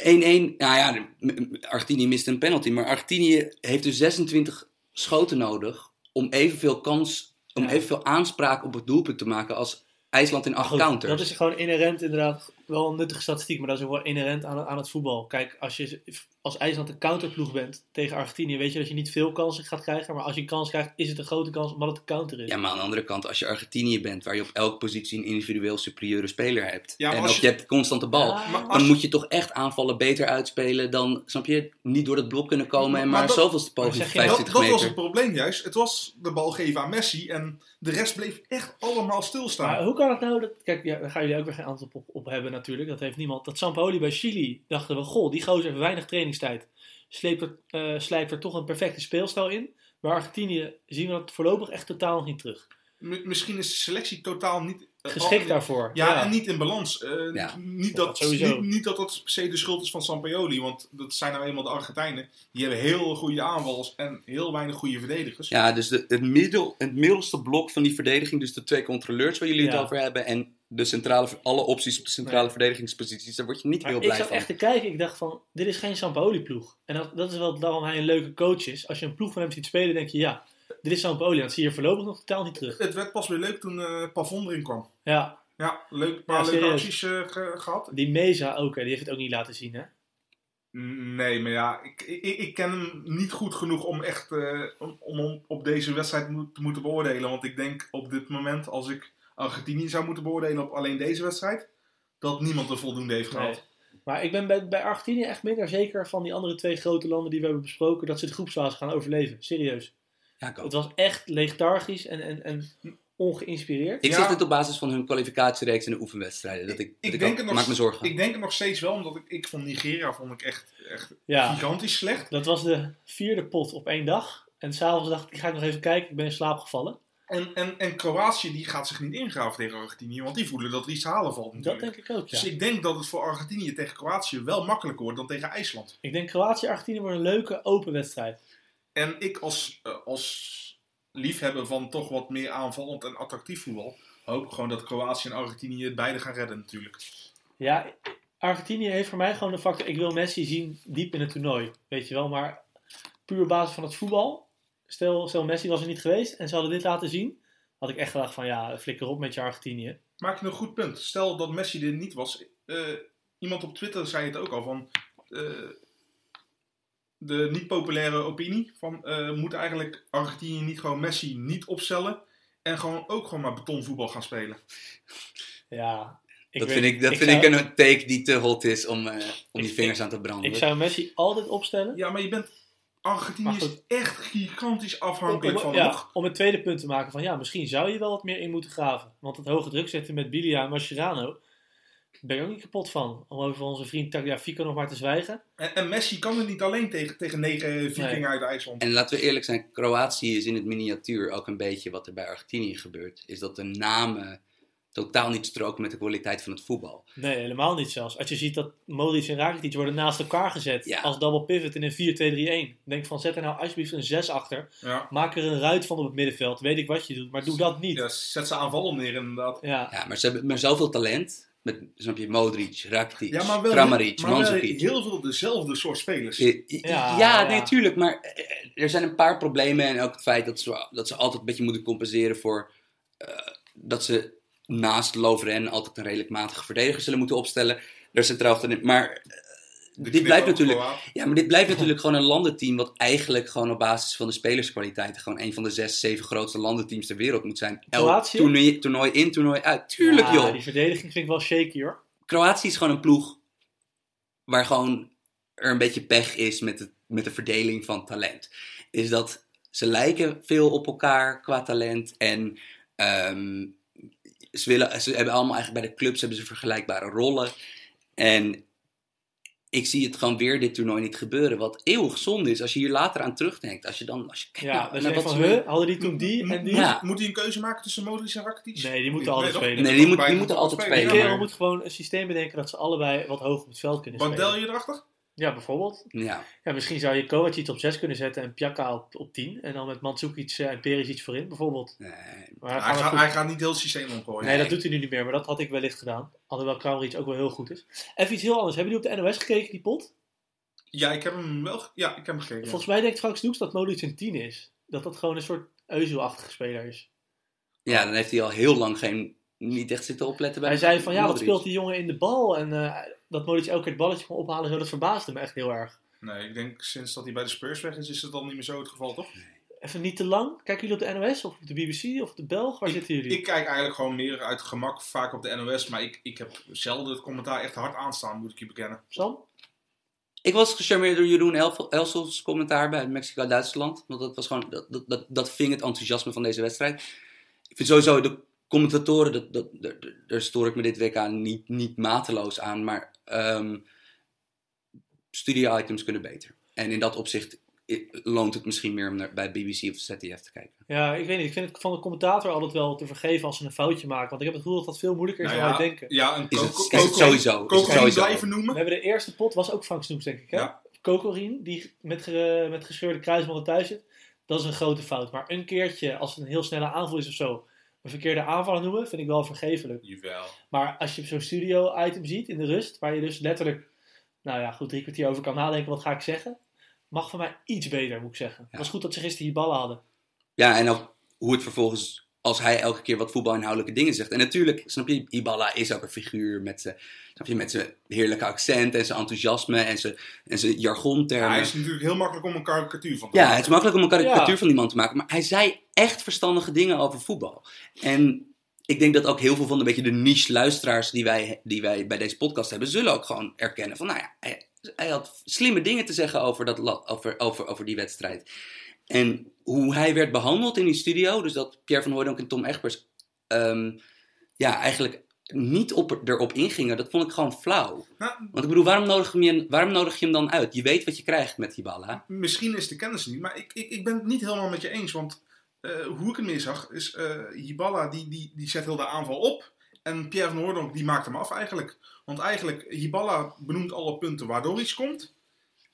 C: Nou ja, de- m- m- Argentinië miste een penalty. Maar Argentinië heeft dus 26 schoten nodig om evenveel kans, om
A: Ja.
C: evenveel aanspraak op het doelpunt te maken als IJsland in
A: Maar
C: acht
A: goed,
C: counters.
A: dat is gewoon inherent inderdaad wel een nuttige statistiek, maar dat is ook wel inherent aan, aan het voetbal. Kijk, als je als IJsland een counterploeg bent tegen Argentinië, weet je dat je niet veel kansen gaat krijgen, maar als je een kans krijgt, is het een grote kans omdat het een counter is.
C: Ja, maar aan de
B: Ah.
C: andere kant, als je Argentinië bent, waar je op elke positie een individueel superieure speler hebt.
B: Ja, maar
C: en
B: als
C: ook
B: je-
C: je hebt constant de bal.
A: Ah,
B: Maar
A: ja.
B: als-
C: Dan moet je toch echt aanvallen beter uitspelen dan, snap je, niet door dat blok kunnen komen en
B: Maar
C: maar,
B: dat-
C: zoveelste poging
A: zeg
C: van
A: je, dat-
B: Dat,
C: 25
B: dat was
C: meter.
B: het probleem juist. Het was de bal geven aan Messi en de rest bleef echt allemaal
A: Maar
B: stilstaan.
A: hoe kan het nou dat... Kijk, ja, daar gaan jullie ook weer geen antwoord op, op hebben natuurlijk. Dat heeft niemand. Dat Sampaoli bij Chili dachten we... Goh, die gozer heeft weinig trainingstijd. Sleept er, eh, slijpt er toch een perfecte speelstijl in. Maar Argentinië zien we dat voorlopig echt totaal nog niet terug.
B: M- misschien is de selectie totaal niet... eh,
A: Geschikt
B: al-
A: daarvoor.
B: Ja, en niet in balans. Eh,
C: Ja,
B: niet,
A: dat
B: dat,
A: sowieso.
B: niet, niet dat dat per se de schuld is van Sampaoli. Want dat zijn nou eenmaal de Argentijnen. Die hebben heel goede aanvallers en heel weinig goede verdedigers.
C: Ja, dus de, het, middel, het middelste blok van die verdediging, dus de twee controleurs waar jullie
A: Ja.
C: het over hebben en de centrale, alle opties op de centrale
A: Nee.
C: verdedigingsposities, daar word je niet
A: Maar
C: heel
A: ik
C: blij
A: zat
C: van.
A: echt te kijken. Ik dacht van, dit is geen Sampaoli-ploeg. En dat, dat is wel daarom hij een leuke coach is. Als je een ploeg van hem ziet spelen, denk je... Ja, dit is Sampaoli. Dat zie je voorlopig nog totaal niet terug.
B: Het werd pas weer leuk toen eh Pavon erin kwam.
A: Ja,
B: Ja, leuk, een paar
A: Ja,
B: leuke
A: serieus.
B: acties eh, ge- gehad.
A: die Meza ook. hè, Die heeft het ook niet laten zien, hè?
B: Mm, Nee, maar ja, ik, ik, ik ken hem niet goed genoeg om echt eh, om, om hem op deze wedstrijd mo- te moeten beoordelen. Want ik denk op dit moment, als ik Argentinië zou moeten beoordelen op alleen deze wedstrijd, dat niemand er voldoende heeft
A: Nee.
B: gehad.
A: Maar ik ben bij, bij Argentinië echt minder zeker van die andere twee grote landen die we hebben besproken, dat ze de groepsfase gaan overleven. Serieus.
C: Ja, ik ook.
A: Het was echt lethargisch en, en, en ongeïnspireerd.
C: Ik
B: Ja.
C: zeg dit op basis van hun kwalificatiereeks en de oefenwedstrijden. Dat ik, dat ik
B: denk
C: ook-
B: het nog
C: maak me zorgen.
B: Ik denk het nog steeds wel, omdat ik, ik vond Nigeria vond ik echt, echt
A: Ja,
B: gigantisch slecht.
A: dat was de vierde pot op één dag. En s'avonds dacht ik, ik ga nog even kijken, ik ben in slaap gevallen.
B: En, en, en Kroatië die gaat zich niet ingraven tegen Argentinië, want die voelen dat er iets te halen valt
A: Dat
B: natuurlijk.
A: denk ik ook, ja.
B: Dus ik denk dat het voor Argentinië tegen Kroatië wel makkelijker wordt dan tegen IJsland.
A: Ik denk Kroatië-Argentinië wordt een leuke open wedstrijd.
B: En ik als, eh, als liefhebber van toch wat meer aanvallend en attractief voetbal... hoop gewoon dat Kroatië en Argentinië het beide gaan redden natuurlijk.
A: Ja, Argentinië heeft voor mij gewoon de factor, ik wil Messi zien diep in het toernooi. Weet je wel, maar puur op basis van het voetbal. Stel, stel Messi was er niet geweest en ze hadden dit laten zien. Had ik echt gedacht van ja, flikker op met je Argentinië.
B: Maak je een goed punt. Stel dat Messi er niet was. eh, iemand op Twitter zei het ook al van... eh, de niet populaire opinie van... eh, moet eigenlijk Argentinië niet gewoon Messi niet opstellen... en gewoon ook gewoon maar betonvoetbal gaan spelen.
A: Ja, ik
C: dat
A: weet-
C: vind ik, dat vind
A: zou,
C: ik een take die te hot is om, eh, om
A: Ik-
C: die vingers aan te branden.
A: Ik zou Messi altijd opstellen.
B: Ja, maar je bent... Argentinië
A: Maar goed.
B: is echt gigantisch
A: Om,
B: afhankelijk
A: om-
B: van...
A: ja,
B: nog.
A: om het tweede punt te maken van ja, misschien zou je wel wat meer in moeten graven. Want het hoge druk zetten met Bilia en Mascherano, ben ik ook niet kapot van. Om over onze vriend Tagliafico nog maar te zwijgen.
B: En, en Messi kan het niet alleen tegen, tegen negen vikingen
A: Nee.
B: uit IJsland.
C: En laten we eerlijk zijn, Kroatië is in het miniatuur ook een beetje wat er bij Argentinië gebeurt. Is dat de namen totaal niet stroken met de kwaliteit van het voetbal.
A: Nee, helemaal niet zelfs. Als je ziet dat Modric en Rakitic worden naast elkaar gezet.
C: Ja.
A: Als double pivot in een 4-2-3-1. Denk van, zet er nou alsjeblieft een 6 achter.
B: Ja.
A: Maak er een ruit van op het middenveld. Weet ik wat je doet, maar doe dat niet.
B: Ja,
A: Ja.
B: zet ze aanval om neer inderdaad.
C: Ja, maar ze hebben maar zoveel talent. Met, snap je, Modric, Rakitic,
B: Ja, maar wel,
C: Kramaric,
B: maar wel
C: Mandzukic.
B: heel veel dezelfde soort spelers.
C: I- i-
A: Ja,
C: Ja,
A: ja.
C: nee, tuurlijk. Maar eh, er zijn een paar problemen. En ook het feit dat ze, dat ze altijd een beetje moeten compenseren voor... eh, dat ze naast Lovren altijd een redelijk matige verdediger zullen moeten opstellen. Daar centraal achterin. Maar eh, dit blijft natuurlijk... Ja, maar dit blijft natuurlijk gewoon een landenteam... wat eigenlijk gewoon op basis van de spelerskwaliteiten... gewoon een van de zes, zeven grootste landenteams ter wereld moet zijn. Elk
A: Kroatië?
C: toernooi, toernooi in, toernooi uit. Tuurlijk,
A: Ja,
C: joh!
A: Die verdediging vind ik wel shaky hoor.
C: Kroatië is gewoon een ploeg waar gewoon er een beetje pech is met de, met de verdeling van talent. Is dat ze lijken veel op elkaar qua talent en ehm, ze, willen, ze hebben allemaal eigenlijk bij de clubs hebben ze vergelijkbare rollen. En ik zie het gewoon weer dit toernooi niet gebeuren, wat eeuwig zonde is als je hier later aan terugdenkt. Als je dan, als je kijkt
A: Ja,
C: naar-
A: dan
C: naar
A: denk
C: wat
A: van,
C: ze-
A: huh, hadden die toen die en die?
C: Ja.
B: Moet, moet hij een keuze maken tussen Modric en Rakitic?
A: Nee, die moeten altijd
B: toch?
A: spelen.
C: Nee, die moet- die
B: Beide
C: moeten altijd
A: Die
C: spelen.
B: Ja,
A: kerel
C: maar-
A: moet gewoon een systeem bedenken dat ze allebei wat hoog op het veld kunnen
B: maar-
A: spelen.
B: Bandel je erachter?
A: Ja, bijvoorbeeld.
C: Ja,
A: Ja, misschien zou je Kovacic op 6 kunnen zetten en Pjaka op, op 10. En dan met Mandzukic eh, en Perisic voorin, bijvoorbeeld.
C: nee.
A: Maar
B: Hij
A: gaan we
B: gaat,
A: goed-
B: hij gaat niet heel het systeem omgooien.
A: nee, dat doet hij nu niet meer, maar dat had ik wellicht gedaan. Alhoewel Kramaric ook wel heel goed is. Even iets heel anders. Hebben jullie op de NOS gekeken, die pot?
B: Ja, ik heb hem wel ge- ja, ik heb hem gekeken.
A: Volgens mij denkt Frank Snoeks dat Modric een 10 is. Dat dat gewoon een soort Euzel-achtige speler is.
C: ja, dan heeft hij al heel lang geen, niet echt zitten opletten bij
A: Hij zei van, ja, wat
C: Modric.
A: speelt die jongen in de bal? En eh, dat Modric elke keer het balletje kon ophalen, zo, dat verbaasde me echt heel erg.
B: Nee, ik denk sinds dat hij bij de Spurs weg is, is dat dan niet meer zo het geval, toch?
A: Even niet te lang. Kijken jullie op de NOS of op de BBC of op de Belg? Waar zitten jullie?
B: Ik kijk eigenlijk gewoon meer uit gemak vaak op de NOS, maar ik, ik heb zelden het commentaar echt hard aanstaan, moet ik je bekennen.
A: Sam?
C: Ik was gecharmeerd door Jeroen Elf- Elsels commentaar bij Mexico-Duitsland. Want dat, was gewoon, dat, dat, dat, dat ving het enthousiasme van deze wedstrijd. Ik vind sowieso de commentatoren, dat, dat, daar, daar- daar stoor ik me dit week aan niet, niet mateloos aan. Maar ehm studio-items kunnen beter. En in dat opzicht i- loont het misschien meer om naar, bij BBC of ZDF te kijken.
A: Ja, ik weet niet. Ik vind het van de commentator altijd wel te vergeven als ze een foutje maken. Want ik heb het gevoel dat dat veel moeilijker is
B: Nou
A: dan
B: ja,
A: wij denken.
B: Ja, een
C: Is het,
B: Coco-
C: is het
B: Coco-
C: sowieso. Is het
B: Coco niet
C: sowieso.
B: blijven
A: We
B: noemen?
A: hebben de eerste pot, was ook Frank Snoeks, denk ik. Hè?
B: Ja.
A: Kokorien, die met, ge- met gescheurde kruisbanden thuis zit. Dat is een grote fout. Maar een keertje, als het een heel snelle aanval is of zo, een verkeerde aanval noemen, vind ik wel vergevelijk.
B: Jawel.
A: Maar als je zo'n studio-item ziet in de rust, waar je dus letterlijk, nou ja, goed drie kwartier over kan nadenken, wat ga ik zeggen? Mag van mij iets beter, moet ik zeggen. Het
C: Ja.
A: was goed dat ze gisteren die ballen hadden.
C: Ja, en ook hoe het vervolgens, als hij elke keer wat voetbalinhoudelijke dingen zegt. En natuurlijk, snap je, Ibala is ook een figuur met zijn, snap je, met zijn heerlijke accent en zijn enthousiasme en zijn, en zijn
B: Ja,
C: jargontermen.
B: hij
C: Ja,
B: is natuurlijk heel makkelijk om een karikatuur van te
C: het is makkelijk om een karikatuur
A: Ja.
C: van die man te maken, maar hij zei echt verstandige dingen over voetbal. En ik denk dat ook heel veel van de beetje de niche luisteraars die wij, die wij bij deze podcast hebben, zullen ook gewoon erkennen van, nou ja, hij, hij had slimme dingen te zeggen over, dat, la- over, over, over die wedstrijd. En hoe hij werd behandeld in die studio, dus dat Pierre van Hooydonk en Tom Egbers ehm, ja, eigenlijk niet op, erop ingingen, dat vond ik gewoon flauw.
B: Nou,
C: Want ik bedoel, waarom nodig, je hem, waarom nodig je hem dan uit? Je weet wat je krijgt met Hibala.
B: misschien is de kennis niet, maar ik, ik, ik ben het niet helemaal met je eens. Want eh, hoe ik het meer zag, is eh Hibala die, die, die zet heel de aanval op. En Pierre van Hoordonk die maakt hem af eigenlijk. Want eigenlijk, Hibala benoemt alle punten waardoor iets komt.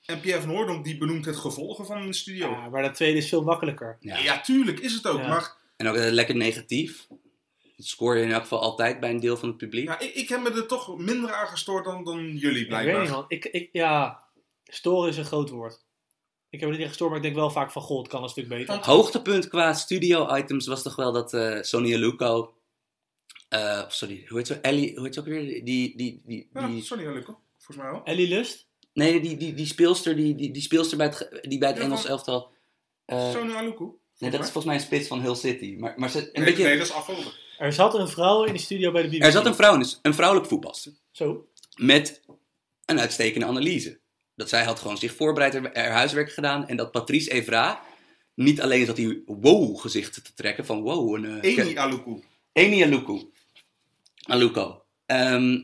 B: En Pierre van Hoordonk die benoemt het gevolgen van een studio. Ja,
A: Ja, maar dat tweede is veel makkelijker.
C: Ja.
B: tuurlijk is het ook.
A: Ja.
B: Maar
C: En ook eh, lekker negatief. Dat scoor je in elk geval altijd bij een deel van het publiek.
B: ja, ik, ik heb me er toch minder aan gestoord dan, dan jullie
A: Ik weet
B: blijkbaar.
A: niet, man. Ik, ik, ja, storen is een groot woord. Ik heb het niet echt gestoord, maar ik denk wel vaak van, goh, het kan een stuk beter.
C: Hoogtepunt qua studio-items was toch wel dat eh Sonia Luco... eh, of sorry, hoe heet ze? Ellie, hoe heet ze ook weer? Die, die, die, die,
B: ja, sorry, Luc. hoor. Volgens mij wel.
A: Ellie Lust?
C: Nee, die, die, die speelster, die, die, die speelster bij het, ge- die bij het
B: Ja,
C: Engels
B: van-
C: elftal. eh,
B: Sonu Aluko.
C: nee, dat is volgens mij een spits van Hull City. Maar, maar ze, een
B: Nee,
C: beetje,
B: nee, dat is afgelopen.
A: Er zat een vrouw in de studio bij de BBC.
C: er zat een vrouw in, dus een vrouwelijk voetbalster.
A: Zo.
C: Met een uitstekende analyse. Dat zij had gewoon zich voorbereid, er, er huiswerk gedaan. En dat Patrice Evra niet alleen zat die wow gezicht te trekken van wow. Een, eh,
B: Eni Aluko.
C: Eni Aluko. Aluko. Ehm,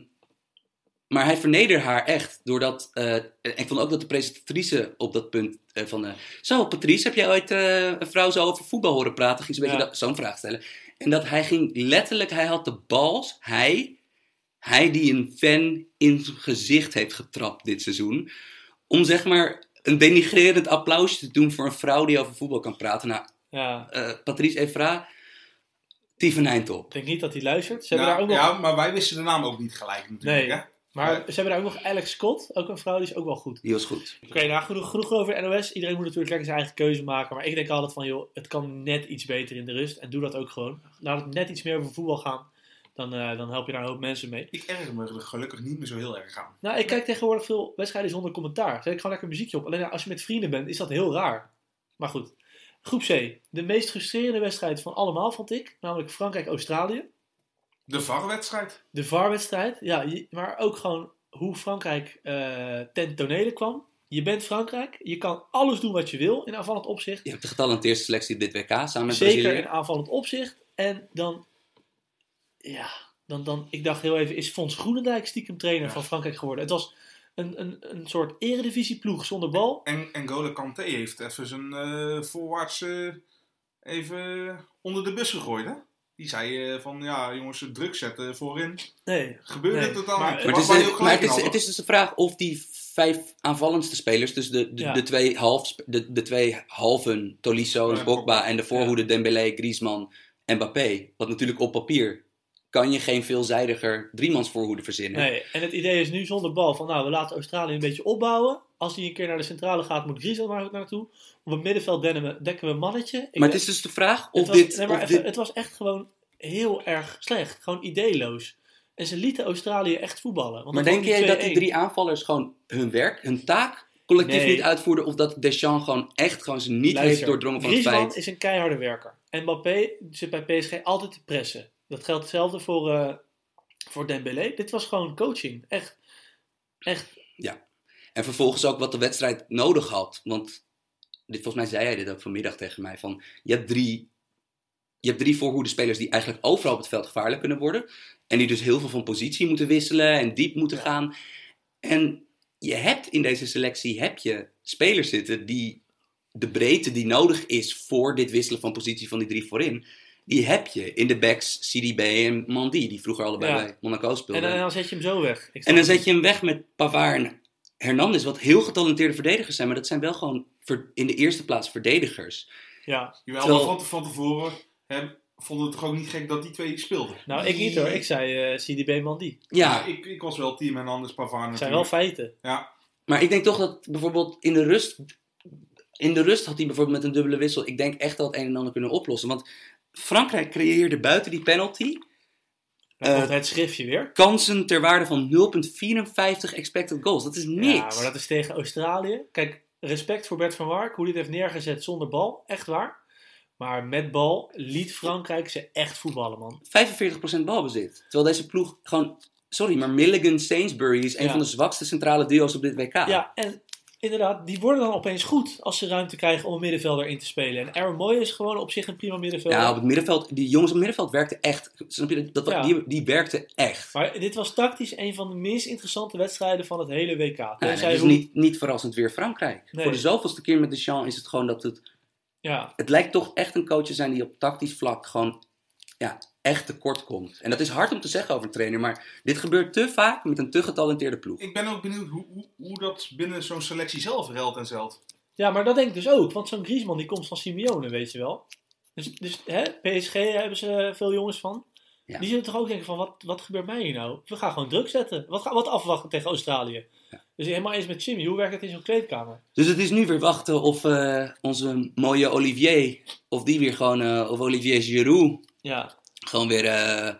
C: Maar hij vernederde haar echt. Doordat, eh, en ik vond ook dat de presentatrice op dat punt eh, van... eh, zo, Patrice, heb jij ooit eh, een vrouw zo over voetbal horen praten? Ging ze een beetje
A: Ja.
C: dat- zo'n vraag stellen. En dat hij ging letterlijk... Hij had de bals, hij... Hij die een fan in zijn gezicht heeft getrapt dit seizoen. Om zeg maar een denigrerend applausje te doen voor een vrouw die over voetbal kan praten. Nou,
A: Ja.
C: eh, Patrice Evra, Tieven Eindel.
A: Ik denk niet dat hij luistert. Ze hebben
B: Nou,
A: daar ook nog...
B: Ja, maar wij wisten de naam ook niet gelijk natuurlijk.
A: Nee.
B: Hè?
A: Maar
B: Nee.
A: ze hebben daar ook nog Alex Scott, ook een vrouw, die is ook wel goed.
C: Die was goed.
A: Oké, nou genoeg, genoeg over NOS. Iedereen moet natuurlijk lekker zijn eigen keuze maken. Maar ik denk altijd van, joh, het kan net iets beter in de rust. En doe dat ook gewoon. Laat het net iets meer over voetbal gaan. Dan, eh, dan help je daar een hoop mensen mee.
B: Ik erger me er gelukkig niet meer zo heel erg aan.
A: Nou, ik kijk tegenwoordig veel wedstrijden zonder commentaar. Zet ik gewoon lekker muziekje op. Alleen ja, als je met vrienden bent, is dat heel raar. Maar goed. Groep C. De meest frustrerende wedstrijd van allemaal, vond ik. Namelijk Frankrijk-Australië.
B: De VAR-wedstrijd.
A: De VAR-wedstrijd. Ja, je- maar ook gewoon hoe Frankrijk eh ten tonele kwam. Je bent Frankrijk. Je kan alles doen wat je wil in aanvallend opzicht.
C: Je hebt de getalenteerde selectie op dit WK samen met
A: Zeker
C: Brazilië.
A: in aanvallend opzicht. En dan... Ja, dan, dan... Ik dacht heel even, is Fons Groenendijk stiekem trainer
B: Ja.
A: van Frankrijk geworden? Het was... Een, een, een soort eredivisieploeg zonder bal.
B: En, en Gole Kanté heeft even zijn eh, voorwaarts eh, even onder de bus gegooid. Hè? Die zei eh, van, ja jongens, druk zetten voorin.
A: Nee.
B: Gebeurde
A: Nee,
B: het totaal
A: maar-
B: niet.
C: Maar,
B: Waar-
C: het,
B: waar
C: is,
B: je ook
C: maar
B: gelijk
C: het,
B: in
C: is,
B: had,
C: het is dus de vraag of die vijf aanvallendste spelers, dus de, de,
A: Ja.
C: de twee half, de, de twee halven, Tolisso
B: Ja,
C: en Pogba, en de voorhoede Dembélé, Griezmann en Mbappé. Want natuurlijk op papier kan je geen veelzijdiger driemans voorhoede verzinnen.
A: nee. En het idee is nu zonder bal van nou, we laten Australië een beetje opbouwen. Als hij een keer naar de centrale gaat, moet Griezmann maar ook naartoe. Op het middenveld dennen we- dekken we een mannetje. Ik
C: maar
A: weet-
C: het is dus de vraag
A: het
C: of
A: was,
C: dit...
A: nee, maar
C: of
A: even,
C: dit-
A: het was echt gewoon heel erg slecht. Gewoon ideeloos. En ze lieten Australië echt voetballen. Want
C: maar
A: het
C: denk
A: was
C: jij
A: niet
C: dat die
A: 2-1.
C: drie aanvallers gewoon hun werk, hun taak collectief
A: Nee.
C: niet uitvoerden? Of dat Deschamps gewoon echt gewoon ze niet
A: Luister,
C: heeft doordrongen van
A: Griezmann
C: het feit?
A: is een keiharde werker. En Mbappé zit bij PSG altijd te pressen. Dat geldt hetzelfde voor, eh, voor Dembélé. Dit was gewoon coaching. Echt. Echt.
C: En vervolgens ook wat de wedstrijd nodig had. Want dit, volgens mij zei hij dit ook vanmiddag tegen mij. Van, je, hebt drie, je hebt drie voorhoede spelers die eigenlijk overal op het veld gevaarlijk kunnen worden. En die dus heel veel van positie moeten wisselen en diep moeten
A: Ja.
C: gaan. En je hebt in deze selectie heb je spelers zitten die de breedte die nodig is voor dit wisselen van positie van die drie voorin. Die heb je in de backs CDB en Mandy, die vroeger allebei
A: Ja.
C: bij Monaco
A: En,
C: speelden.
A: dan- en eh, dan zet je hem zo weg. Ik
C: En
A: snap
C: dan
A: het
C: zet je hem weg met Pavard en Hernandez, wat heel getalenteerde verdedigers zijn. Maar dat zijn wel gewoon ver- in de eerste plaats verdedigers.
A: niet. Ja.
B: Jawel,
C: Terwijl-
B: maar van, van tevoren hè, vonden het gewoon niet gek dat die twee speelden.
A: Nou, ik niet hoor. Ik zei eh CDB Mandy.
C: Ja,
B: Ik, ik was wel team en anders Pavard
A: Het zijn wel
B: natuurlijk.
A: feiten.
B: Ja,
C: maar ik denk toch dat bijvoorbeeld in de rust... In de rust had hij bijvoorbeeld met een dubbele wissel... Ik denk echt dat het een en ander kunnen oplossen. Want Frankrijk creëerde buiten die penalty...
A: Dan
C: Eh,
A: komt het schriftje weer.
C: kansen ter waarde van 0,54 expected goals. Dat is niks.
A: Ja, maar dat is tegen Australië. Kijk, respect voor Bert van Wark, hoe hij het heeft neergezet zonder bal. Echt waar. Maar met bal liet Frankrijk ze echt voetballen, man.
C: 45% balbezit. Terwijl deze ploeg gewoon... Sorry, maar Milligan Sainsbury is een
A: Ja.
C: van de zwakste centrale duo's op dit WK.
A: Ja, en inderdaad, die worden dan opeens goed als ze ruimte krijgen om een middenvelder in te spelen. En Aaron Moy is gewoon op zich een prima middenvelder.
C: Ja, op het middenveld, die jongens op het middenveld werkten echt. Snap je? Dat, dat-
A: Ja.
C: die, die werkten echt.
A: Maar dit was tactisch een van de minst interessante wedstrijden van het hele WK.
C: Nou,
A: Tenzij
C: het is
A: hoe-
C: niet, niet verrassend weer Frankrijk.
A: Nee.
C: Voor de zoveelste keer met Deschamps is het gewoon dat het...
A: Ja,
C: Het lijkt toch echt een coach te zijn die op tactisch vlak gewoon ja, echt tekort komt. En dat is hard om te zeggen over een trainer, maar dit gebeurt te vaak met een te getalenteerde ploeg.
B: ik ben ook benieuwd hoe, hoe, hoe dat binnen zo'n selectie zelf geldt en zelt.
A: Ja, maar dat denk ik dus ook. Want zo'n Griezmann die komt van Simeone, weet je wel. Dus, dus hè, PSG hebben ze eh, veel jongens van.
C: Ja.
A: Die zullen toch ook denken van, wat, wat gebeurt mij hier nou? We gaan gewoon druk zetten. Wat, ga- wat afwachten tegen Australië? Dus helemaal eens met Jimmy, hoe werkt het in zo'n kleedkamer?
C: Dus het is nu weer wachten of eh, onze mooie Olivier, of die weer gewoon, eh, of Olivier Giroud
A: Ja,
C: gewoon weer eh,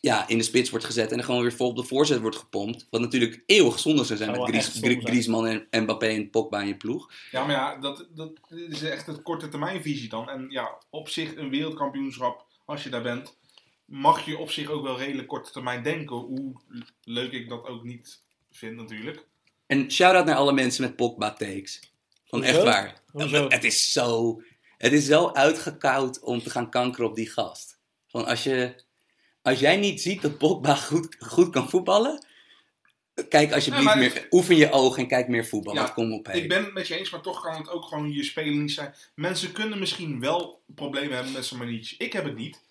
C: ja, in de spits wordt gezet en dan gewoon weer vol op de voorzet wordt gepompt. Wat natuurlijk eeuwig zonde zou zijn
A: Zou
C: met
A: wel
C: Gries,
A: echt zonde
C: Gri-
A: zijn.
C: Griezmann en- en Mbappé en Pogba in je ploeg.
B: Ja, maar ja, dat, dat is echt het korte termijnvisie dan. En ja, op zich een wereldkampioenschap, als je daar bent, mag je op zich ook wel redelijk korte termijn denken. Hoe leuk ik dat ook niet vind natuurlijk.
C: En shout-out naar alle mensen met Pogba takes. Van echt
A: Hoezo?
C: waar.
A: Hoezo?
C: Het is zo... Het is zo uitgekoud om te gaan kankeren op die gast. Van als je... Als jij niet ziet dat Pogba goed, goed kan voetballen... Kijk alsjeblieft
B: Nee, maar-
C: meer, oefen je ogen en kijk meer voetbal.
B: Ja,
C: want kom op, hé.
B: Ik ben het met je eens, maar toch kan het ook gewoon je spelen niet zijn. Mensen kunnen misschien wel problemen hebben met Samanic. Ik heb het niet.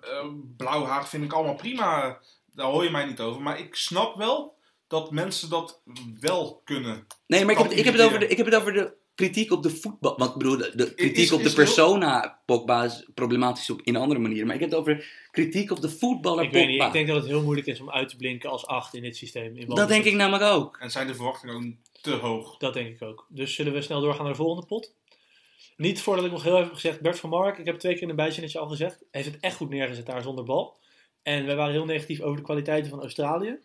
B: Eh, Blauw haar vind ik allemaal prima. Daar hoor je mij niet over. Maar ik snap wel dat mensen dat wel kunnen.
C: Nee, maar ik heb, het- ik, heb het over de,
B: Irriteren.
C: ik heb het over de kritiek op de voetbal. Want ik bedoel, de, de kritiek
B: is-
C: op de
B: is heel-
C: persona Pogba is problematisch op, in andere manieren. Maar ik heb het over kritiek op de voetballer
A: Ik weet niet,
C: Pogba.
A: ik denk dat het heel moeilijk is om uit te blinken als 8 in dit systeem. In
C: Dat denk ik namelijk ook.
B: En zijn de verwachtingen ook te hoog.
A: Dat denk ik ook. Dus zullen we snel doorgaan naar de volgende pot? Niet voordat ik nog heel even heb gezegd, Bert van Mark, ik heb twee keer in een bijzinnetje al gezegd, heeft het echt goed neergezet daar zonder bal. En wij waren heel negatief over de kwaliteiten van Australië.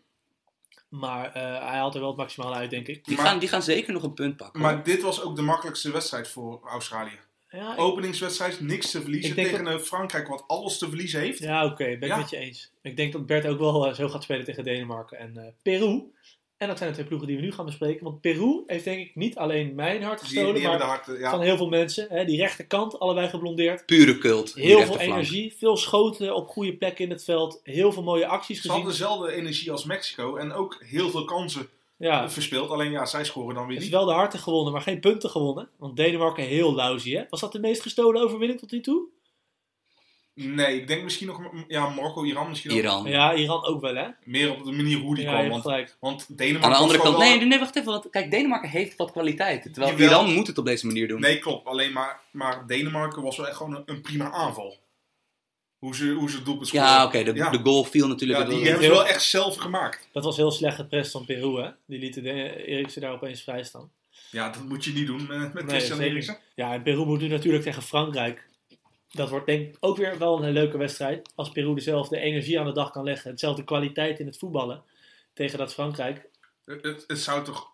A: Maar eh, hij haalt er wel het maximale uit, denk ik.
C: Die,
B: Maar-
C: gaan, die gaan zeker nog een punt pakken. hoor.
B: Maar dit was ook de makkelijkste wedstrijd voor Australië.
A: Ja, ik-
B: Openingswedstrijd, niks te verliezen
A: Ik denk
B: tegen een Frankrijk wat alles te verliezen heeft.
A: ja oké, ben ik
B: Ja.
A: met je eens. Ik denk dat Bert ook wel eh, zo gaat spelen tegen Denemarken en eh, Peru. En dat zijn de twee ploegen die we nu gaan bespreken. Want Peru heeft denk ik niet alleen mijn hart
B: Die, die
A: gestolen,
B: hebben
A: maar
B: de harten. Ja.
A: van heel veel mensen. Hè, die rechterkant, allebei geblondeerd.
C: Pure cult. die
A: Heel veel
C: rechterflank.
A: energie, veel schoten op goede plekken in het veld. Heel veel mooie acties
B: Ze hadden
A: gezien.
B: dezelfde energie als Mexico. En ook heel veel kansen
A: Ja, het
B: verspeeld. Alleen ja, zij scoren dan weer
A: is
B: niet.
A: wel de harten gewonnen, maar geen punten gewonnen. Want Denemarken heel lousy, hè? Was dat de meest gestolen overwinning tot nu toe?
B: Nee, ik denk misschien nog ja, Marokko, Iran misschien nog
C: Iran.
A: Ja, Iran ook wel, hè?
B: meer op de manier hoe die
A: ja, je hebt
B: kwam. Want,
A: gelijk.
B: want Denemarken
C: Aan de andere
B: was
C: kant,
B: wel
C: nee,
B: wel-
C: nee, wacht even. Want, kijk, Denemarken heeft wat kwaliteiten. Terwijl
B: Jawel.
C: Iran moet het op deze manier doen.
B: nee, klopt. Alleen maar, maar Denemarken was wel echt gewoon een, een prima aanval. Hoe ze, hoe ze het doelpunt scoren.
C: ja, oké, de,
B: Ja.
C: de goal viel natuurlijk.
B: Ja,
C: wel-
B: die hebben ze wel echt zelf gemaakt.
A: Dat was heel slecht geprest van Peru, hè? Die lieten de- eh, Eriksen daar opeens vrij staan.
B: Ja, dat moet je niet doen eh, met
A: Nee,
B: Christian
A: zeker
B: Eriksen.
A: Ja, en Peru moet nu natuurlijk tegen Frankrijk. Dat wordt denk ik ook weer wel een leuke wedstrijd. Als Peru dezelfde energie aan de dag kan leggen. Hetzelfde kwaliteit in het voetballen. Tegen dat Frankrijk.
B: Het, het, het zou toch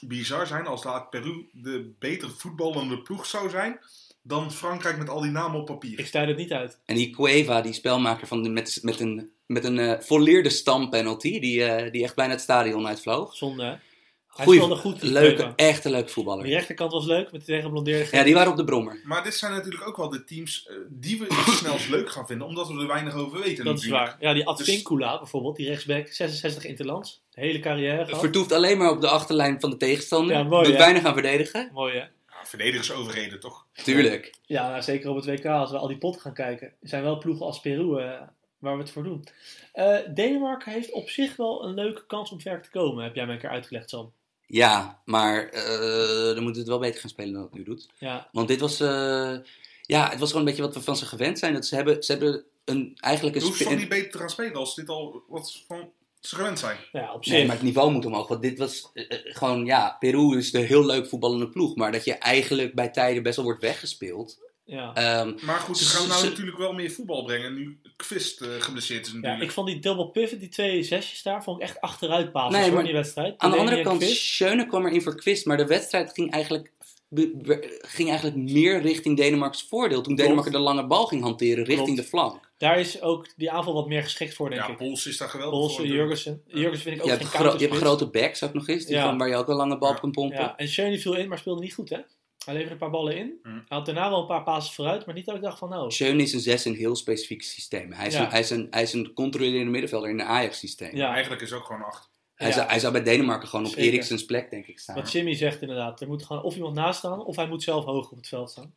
B: bizar zijn als daar Peru de betere voetballende ploeg zou zijn dan Frankrijk met al die namen op papier.
A: Ik sluit het niet uit.
C: En die Cueva, die spelmaker van de, met, met een, met een eh, volleerde stampenalty, die, eh, die echt bijna het stadion uitvloog.
A: Zonde, hè? Hij
C: Goeie,
A: speelde goed, die
C: leuke,
A: Cueva.
C: echt een leuke voetballer.
A: Oh, Die rechterkant was leuk met de tegenblondeerde
C: Ja, die waren op de brommer.
B: Maar dit zijn natuurlijk ook wel de teams eh, die we het snelst leuk gaan vinden, omdat we er weinig over weten.
A: Dat is
B: natuurlijk.
A: waar. Ja,
C: dus-
A: die Advincula bijvoorbeeld, die rechtsback, 66 interlands. De hele carrière gehad.
C: Vertoeft alleen maar op de achterlijn van de tegenstander.
A: Oh. Ja, mooi,
C: Doet
A: hè?
C: weinig aan verdedigen.
A: Mooi hè?
B: Ja, Ah, verdedigers overreden, toch?
C: Tuurlijk.
A: Ja, nou, zeker op het WK, als we al die potten gaan kijken. Er zijn wel ploegen als Peru eh, waar we het voor doen. Eh, Denemarken heeft op zich wel een leuke kans om ver te komen, heb jij mij een keer uitgelegd, Sam.
C: Ja, maar eh, dan moet het wel beter gaan spelen dan het nu doet.
A: Ja,
C: Want dit was, eh, ja, het was gewoon een beetje wat we van ze gewend zijn. Dat ze hebben, ze hebben een, eigenlijk een...
B: Je hoeft
C: spe-
B: toch niet beter te gaan spelen als dit al wat van ze gewend zijn.
A: nou ja op zich.
C: Nee, maar het niveau moet omhoog. Want dit was eh, eh, gewoon, ja, Peru is de heel leuk voetballende ploeg. Maar dat je eigenlijk bij tijden best wel wordt weggespeeld.
A: ja.
C: Ehm,
B: Maar goed, ze gaan nou
C: Ze-
B: natuurlijk wel meer voetbal brengen nu Kvist eh, geblesseerd is
A: ja,
B: natuurlijk.
A: ik vond die double pivot, die twee zesjes daar, vond ik echt achteruit passen
C: Nee,
A: voor
C: maar
A: die wedstrijd.
C: aan de andere
A: Denemarken
C: kant,
A: quiz.
C: Schöne kwam erin voor Quist. Maar de wedstrijd ging eigenlijk, be- be- ging eigenlijk meer richting Denemarkens voordeel. Toen Denemarken de lange bal ging hanteren richting
A: Klopt.
C: de flank.
A: Daar is ook die aanval wat meer geschikt voor, denk eh,
B: ja,
A: ik.
B: Pols is daar geweldig
A: Bolsen,
B: voor. natuurlijk.
A: Jurgensen. Jurgensen vind ik ook
C: Je hebt,
A: geen
C: gro- je hebt
A: counterspits.
C: grote backs ook nog eens. Die
A: Ja.
C: van waar je ook een lange bal op kan pompen.
A: Ja, en Schöne viel in, maar speelde niet goed, hè? Hij leverde een paar ballen in.
B: Mm.
A: Hij had daarna wel een paar pases vooruit, maar niet dat ik dacht van nou...
C: Schöne is een zes in een heel specifiek systeem. Hij is,
A: Ja.
C: een, hij, is een, hij is een controlerende middenvelder in een Ajax-systeem.
A: Ja,
B: Ja, eigenlijk is ook gewoon acht.
C: Hij,
A: Ja.
C: zou, hij zou bij Denemarken gewoon op
A: Zeker.
C: Eriksens plek, denk ik, staan.
A: wat Jimmy zegt inderdaad. Er moet gewoon of iemand naast staan, of hij moet zelf hoog op het veld staan.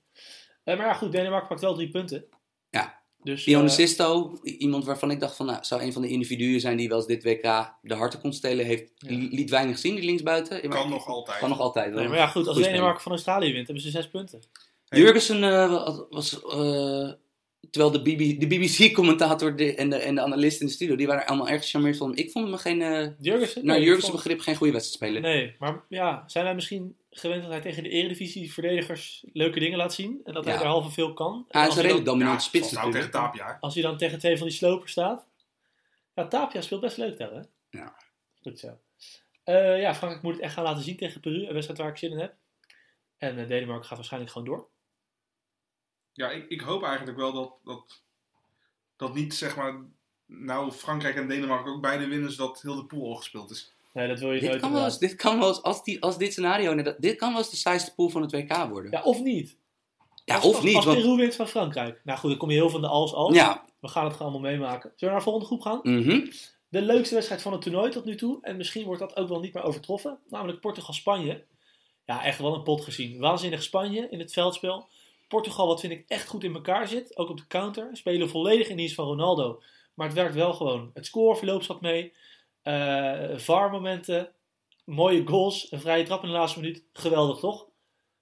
A: Eh, maar ja, goed, Denemarken pakt wel drie punten.
C: Ja.
A: Dus, eh,
C: Dionisisto, i- iemand waarvan ik dacht van, nou, zou een van de individuen zijn die wel eens dit WK de harten kon stelen, heeft,
A: Ja.
C: li- liet weinig zien, die linksbuiten. Maar-
B: Kan nog altijd.
C: Kan nog altijd.
A: nee, maar ja, goed, als
C: Goeie
A: Denemarken van Australië wint, hebben ze zes punten.
C: speler. Jurgensen eh, wa- was, eh, terwijl de, BB de BBC-commentator en de, en de analist in de studio, die waren er allemaal erg gecharmeerd van. Ik vond hem geen, eh,
A: Jurgensen?
C: naar
A: Nee,
C: Jurgensen
A: ik vond-
C: begrip geen goede wedstrijd spelen.
A: Nee, maar ja, zijn wij misschien gewend dat hij tegen de eredivisie verdedigers leuke dingen laat zien? En dat hij
C: Ja.
A: er halve veel kan? En
C: Ah, hij
A: als hij
C: is een
A: dan-
C: redelijk dominante spits
B: Nou tegen
C: natuurlijk.
B: Tapia. hè.
A: Als hij dan tegen twee van die slopers staat. Ja, Tapia speelt best leuk daar, hè?
C: Ja.
A: Goed zo. Eh, ja, Frankrijk moet het echt gaan laten zien tegen Peru. Een wedstrijd waar ik zin in heb. En eh, Denemarken gaat waarschijnlijk gewoon door.
B: Ja, ik, ik hoop eigenlijk wel dat, dat, dat niet, zeg maar, nou Frankrijk en Denemarken ook beide winnen, zodat heel de pool al gespeeld is.
A: Nee, dat wil je
C: Dit
A: nooit
C: kan wel eens,
A: inderdaad.
C: dit kan wel eens als, die, als dit scenario, inderdaad- dit kan wel eens de saaiste pool van het WK worden. Ja,
A: Ja, of niet. Als-
C: of
A: als,
C: niet,
A: Als
C: want...
A: Peru wint van Frankrijk. Nou goed, dan kom je heel van de als als.
C: Ja,
A: We gaan het gewoon allemaal meemaken. Zullen we naar de volgende groep gaan?
C: mhm.
A: de leukste wedstrijd van het toernooi tot nu toe. En misschien wordt dat ook wel niet meer overtroffen. Namelijk Portugal-Spanje. Ja, echt wel een pot gezien. Waanzinnig Spanje in het veldspel. Portugal, wat vind ik echt goed in elkaar zit. Ook op de counter. Spelen volledig in dienst van Ronaldo. Maar het werkt wel gewoon. Het scoreverloop zat mee. Eh VAR-momenten. Mooie goals. Een vrije trap in de laatste minuut. Geweldig, toch?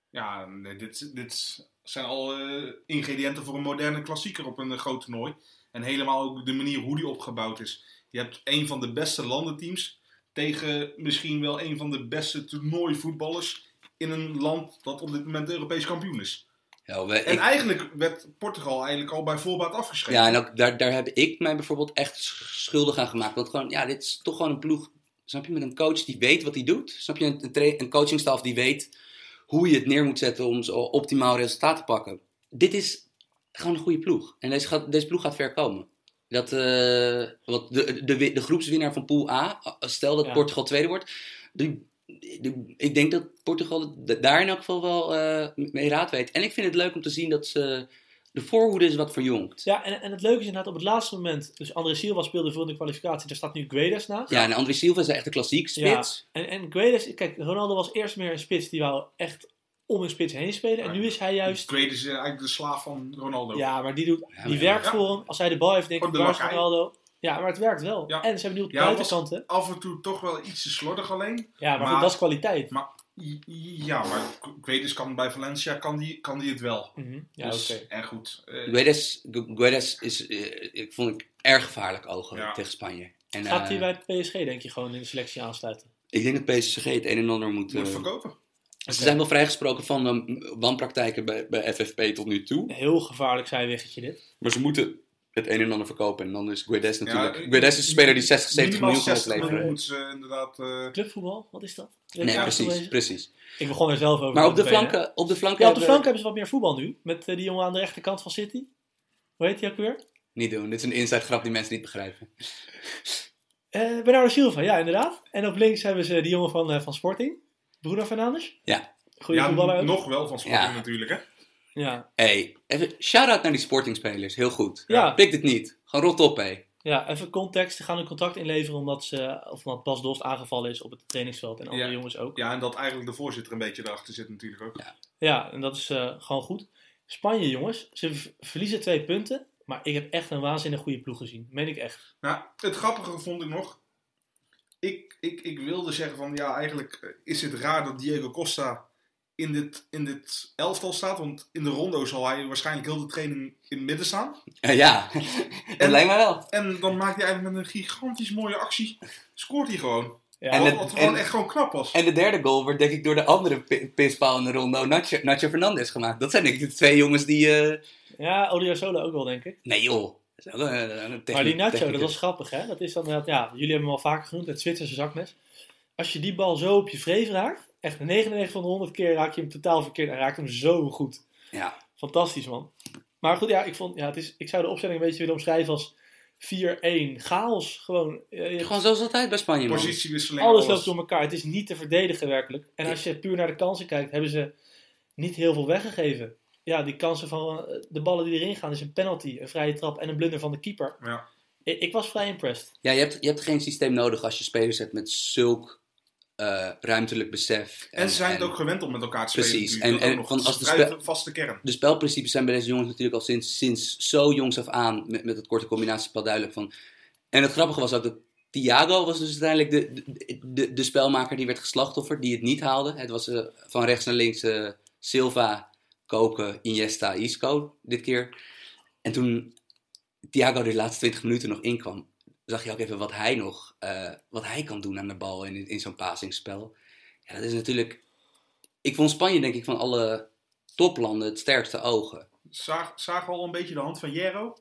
B: Ja, nee, dit, dit zijn al eh, ingrediënten voor een moderne klassieker op een eh, groot toernooi. En helemaal ook de manier hoe die opgebouwd is. Je hebt een van de beste landenteams tegen misschien wel een van de beste toernooivoetballers in een land dat op dit moment Europees kampioen is.
C: Ja, we-
B: En
C: ik-
B: eigenlijk werd Portugal eigenlijk al bij voorbaat afgeschreven.
C: ja, en ook daar, daar heb ik mij bijvoorbeeld echt schuldig aan gemaakt. Want gewoon, ja, dit is toch gewoon een ploeg, snap je, met een coach die weet wat hij doet. Snap je, een, een, tra- een coachingstaf die weet hoe je het neer moet zetten om zo optimaal resultaat te pakken. Dit is gewoon een goede ploeg. En deze, gaat, deze ploeg gaat ver komen. Dat, eh, want de, de, wi- de groepswinnaar van Pool A, eh, stel dat
A: Ja.
C: Portugal tweede wordt, die, die- ik denk dat Portugal d- daar in elk geval wel eh, mee raad weet. En ik vind het leuk om te zien dat ze, de voorhoede is wat verjongt.
A: Ja, en, en het leuke is inderdaad op het laatste moment. Dus André Silva speelde voor in de kwalificatie. Daar staat nu Guedes naast.
C: Ja, en André Silva is echt een klassiek spits.
A: En, en Guedes, kijk, Ronaldo was eerst meer een spits die wou echt om een spits heen spelen. En
B: Ja.
A: nu is hij juist.
B: Great is eh, eigenlijk de slaaf van Ronaldo.
A: Ja, maar die, doet,
C: Ja,
A: die
C: maar-
A: werkt
B: ja.
A: voor hem. Als hij de bal heeft, denk ik,
B: Gewoon
A: waar
B: de
A: is
B: lakai.
A: Ronaldo? Ja, maar het werkt wel.
B: Ja.
A: En ze hebben nu op de
B: Ja, was-
A: buitenkanten.
B: Af en toe toch wel iets te slordig alleen.
A: Ja, maar,
B: maar-
A: goed, dat is kwaliteit.
B: I- i- Ja, maar Great kan bij Valencia kan die, kan die het wel.
A: Mhm. Ja,
B: Dus-
A: oké.
B: En goed. eh,
C: Guedes, Gu- Guedes is, eh, ik vond ik erg gevaarlijk ogen
B: Ja.
C: tegen Spanje. En,
A: Gaat hij
C: eh,
A: bij PSG, denk je, gewoon in de selectie aansluiten?
C: Ik denk dat PSG het een en ander moet... eh,
B: moet verkopen.
C: ze zijn wel vrijgesproken van eh, wanpraktijken bij, bij FFP tot nu toe.
A: Heel gevaarlijk zijweggetje dit.
C: Maar ze moeten het een en ander verkopen. En dan is Guedes natuurlijk...
B: Ja, ik-
C: Guedes is een speler die 60, 70
B: Minimaal
C: miljoen gaat
B: 60
C: opleveren.
B: miljoen moet ze inderdaad... eh,
A: Clubvoetbal, wat is dat? Ben ik
C: Nee,
A: uitgelezen?
C: precies, precies.
A: Ik begon er zelf over.
C: Maar op de
A: flanken.
C: flanken... Op de flanken
A: Ja, op de
C: hebben-
A: flank hebben ze wat meer voetbal nu. Met eh, die jongen aan de rechterkant van City. Hoe heet die ook weer?
C: Niet doen, dit is een inside grap die mensen niet begrijpen.
A: Eh Bernardo Silva, ja inderdaad. En op links hebben ze die jongen van, eh, van Sporting. Bruno Fernandes.
C: Ja.
A: Goede
B: ja,
A: voetballer ook.
B: nog wel van Sporting
C: Ja.
B: natuurlijk, hè.
A: Ja.
C: hey, even shout-out naar die sportingspelers. Heel goed.
A: Ja.
C: Pik dit niet. Gewoon rot op, hé.
A: ja, even context. Ze gaan een contract inleveren omdat, ze, of omdat Bas Dost aangevallen is op het trainingsveld. En andere
B: Ja.
A: jongens ook.
B: Ja, en dat eigenlijk de voorzitter een beetje erachter zit natuurlijk ook.
A: Ja, en dat is eh, gewoon goed. Spanje jongens, ze v- verliezen twee punten. Maar ik heb echt een waanzinnig goede ploeg gezien. Meen ik echt.
B: Nou, het grappige vond ik nog... Ik, ik, ik wilde zeggen van, ja, eigenlijk is het raar dat Diego Costa in dit, in dit elftal staat. Want in de rondo zal hij waarschijnlijk heel de training in het midden staan.
C: Eh, ja, dat lijkt me wel.
B: En dan maakt hij eigenlijk met een gigantisch mooie actie, scoort hij gewoon.
A: Ja,
C: En
B: Wat,
C: het-
B: wat gewoon
C: en-
B: echt gewoon knap was.
C: En de derde goal wordt denk ik door de andere pi- pispaal in de ronde, Nacho, Nacho Fernandez gemaakt. Dat zijn denk ik de twee jongens die... eh,
A: ja Odriozola ook wel, denk ik.
C: Nee joh. Dat is wel een- een techniek-
A: Maar die Nacho, dat
C: technicus.
A: was grappig, hè? Dat is dan, inderdaad- ja, jullie hebben hem al vaker genoemd, het Zwitserse zakmes. Als je die bal zo op je vreef raakt, echt 99 van de 100 keer raak je hem totaal verkeerd en raakt hem zo goed.
C: Ja.
A: Fantastisch, man. Maar goed, ja, ik, vond, ja het is, ik zou de opstelling een beetje willen omschrijven als 4-1 chaos. Gewoon, eh, je hebt-
C: Gewoon zoals altijd bij Spanje, man.
B: Positiewisseling,
A: alles loopt door elkaar. Het is niet te verdedigen, werkelijk. En als je puur naar de kansen kijkt, hebben ze niet heel veel weggegeven. Ja, die kansen van eh, de ballen die erin gaan, is een penalty, een vrije trap en een blunder van de keeper.
B: Ja.
A: Ik, ik was vrij impressed.
C: Ja, je hebt, je hebt geen systeem nodig als je spelers hebt met zulk eh, ruimtelijk besef.
B: En ze zijn het ook gewend om met elkaar te spelen.
C: Precies.
B: natuurlijk.
C: En-
B: Dat
C: en
B: ook
C: van
B: nog.
C: als
B: Het
C: de
B: is vrij
C: spe-
B: vaste kern.
C: de spelprincipes zijn bij deze jongens natuurlijk al sinds, sinds zo jongs af aan met, met het korte combinatiespel duidelijk van. En het grappige was ook dat Thiago was dus uiteindelijk de, de, de, de spelmaker die werd geslachtofferd, die het niet haalde. Het was eh, van rechts naar links eh, Silva, Koken, Iniesta, Isco dit keer. En toen Thiago de laatste 20 minuten nog inkwam, zag je ook even wat hij nog eh, wat hij kan doen aan de bal in, in zo'n pasingsspel. Ja, dat is natuurlijk. Ik vond Spanje denk ik van alle toplanden het sterkste ogen.
B: Zaag, zagen we al een beetje de hand van Jero?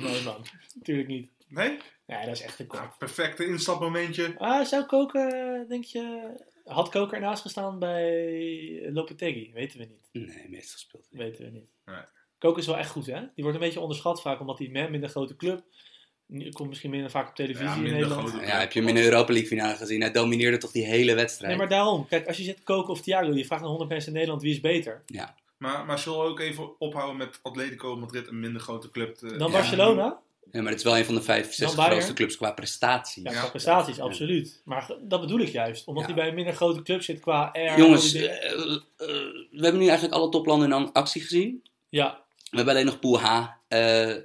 A: Nee, man. Natuurlijk niet.
B: Nee?
A: Nee, dat is echt een
B: Nou,
A: kop.
B: perfecte instapmomentje.
A: Ah, zou Koker, denk je... Had Koker ernaast gestaan bij Lopetegui? Weten we niet.
C: Nee, meestal speelt hij.
A: Weten we niet.
B: Nee.
A: Koker is wel echt goed, hè? Die wordt een beetje onderschat vaak, omdat hij met een grote club... nu- Komt misschien minder vaak op televisie
B: Ja,
A: in
B: minder
A: Nederland.
B: grote-
C: Ja, heb je hem in de Europa League finale gezien? Hij domineerde toch die hele wedstrijd.
A: Nee, maar daarom. Kijk, als je zit Koker of Thiago, je vraagt aan 100 mensen in Nederland wie is beter.
B: Maar, maar zullen we ook even ophouden met Atletico Madrid, een minder grote club. eh, te-
A: Dan
C: Ja.
A: Barcelona?
C: Ja, maar het is wel een van de vijf, zes
A: Dan Bayern.
C: grootste clubs qua prestaties.
A: Ja,
B: Ja.
A: qua prestaties,
C: Ja.
A: absoluut. Maar ge- dat bedoel ik juist. Omdat
C: Ja.
A: hij bij een minder grote club zit qua air.
C: Jongens,
A: al die dingen.
C: eh, eh, we hebben nu eigenlijk alle toplanden in actie gezien.
A: Ja,
C: We hebben alleen nog Pool H eh, eh,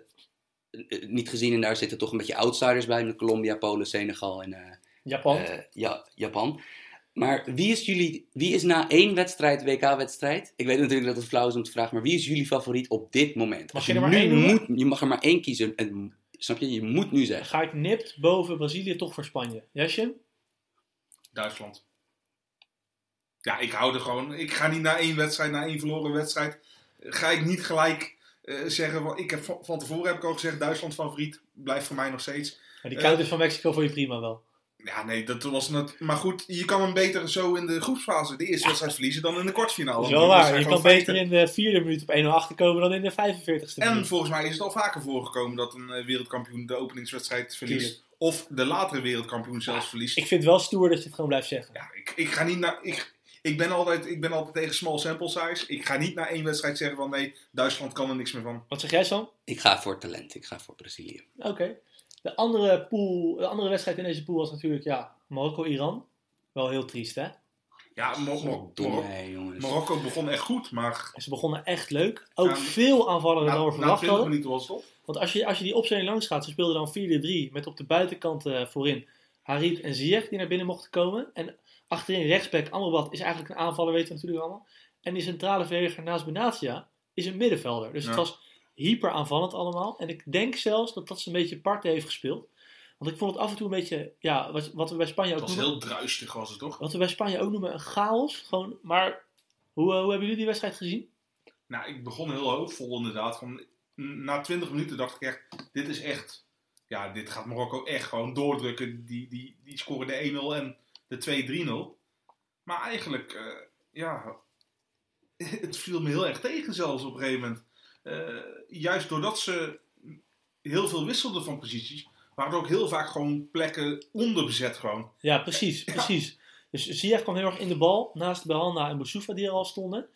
C: niet gezien. En daar zitten toch een beetje outsiders bij. Met Colombia, Polen, Senegal en eh,
A: Japan.
C: eh, ja, Japan. Maar wie is, jullie, wie is na één wedstrijd, WK-wedstrijd... Ik weet natuurlijk dat het flauw is om te vragen... maar wie is jullie favoriet op dit moment?
A: Mag je er maar
C: nu
A: één noemen?
C: moet, Je mag er maar één kiezen. En, snap je? Je moet nu zeggen.
A: Ga ik nipt boven Brazilië toch voor Spanje? Jasje?
B: Duitsland. Ja, ik hou er gewoon. Ik ga niet na één wedstrijd, na één verloren wedstrijd. eh, Ga ik niet gelijk eh, zeggen. Want ik heb, van van tevoren heb ik al gezegd: Duitsland favoriet. Blijft voor mij nog steeds.
A: Maar die
B: Eh.
A: counter van Mexico voor je prima wel.
B: Ja, nee, dat was net. Maar goed, je kan hem beter zo in de groepsfase, de eerste wedstrijd verliezen, dan in de kwartfinale.
A: Dat is
B: Want
A: wel
B: die
A: waar.
B: zijn
A: Je
B: gewoon
A: kan beter
B: feiten.
A: in de vierde minuut op 1-0 achterkomen dan in de 45ste
B: En
A: minuut.
B: volgens mij is het al vaker voorgekomen dat een eh, wereldkampioen de openingswedstrijd verliest. Of de latere wereldkampioen zelfs verliest.
A: Ik vind het wel stoer dat je het gewoon blijft zeggen.
B: Ja, ik, ik ga niet naar. Ik, ik, ben altijd, ik ben altijd tegen small sample size. Ik ga niet na één wedstrijd zeggen van nee, Duitsland kan er niks meer van.
A: Wat zeg jij, Sam?
C: Ik ga voor talent. Ik ga voor Brazilië.
A: Oké. De, andere pool, de andere wedstrijd in deze pool was natuurlijk ja, Marokko-Iran. Wel heel triest, hè? Ah,
B: Ja, Mo- Mo-
C: Domme,
B: Marok-
C: hè, jongens.
B: Marokko begon echt goed, maar
A: Ze begonnen echt leuk. Ook
B: Ja,
A: veel aanvallender
B: na,
A: dan we
B: na
A: verwacht
B: 20
A: hadden.
B: minuten was het op.
A: Want als je, als je die opstelling langs gaat, ze speelden dan 4-3 met op de buitenkant eh, voorin Harit en Ziyech die naar binnen mochten komen. En achterin rechtsback Amrabat is eigenlijk een aanvaller, weten we natuurlijk allemaal. En die centrale verdediger naast Benatia is een middenvelder. Dus het
B: Ja.
A: was hyper aanvallend allemaal. En ik denk zelfs dat dat ze een beetje parten heeft gespeeld. Want ik vond het af en toe een beetje, ja, wat, wat we bij Spanje ook
B: Het was
A: noemen-
B: heel druistig, was het toch?
A: wat we bij Spanje ook noemen een chaos. Gewoon, maar hoe, eh, hoe hebben jullie die wedstrijd gezien?
B: Nou, ik begon heel hoopvol inderdaad. Van, na 20 minuten dacht ik echt, dit is echt... Ja, dit gaat Marokko echt gewoon doordrukken. Die, die, die scoren de 1-0 en de 2-3-0. Maar eigenlijk, eh, ja... Het viel me heel erg tegen zelfs op een gegeven moment. Eh, juist doordat ze heel veel wisselden van posities... waren er ook heel vaak gewoon plekken onderbezet gewoon.
A: Ja, precies, precies. Dus Ziyech kwam heel erg in de bal, naast Belhanda en Boussoufa die er al stonden.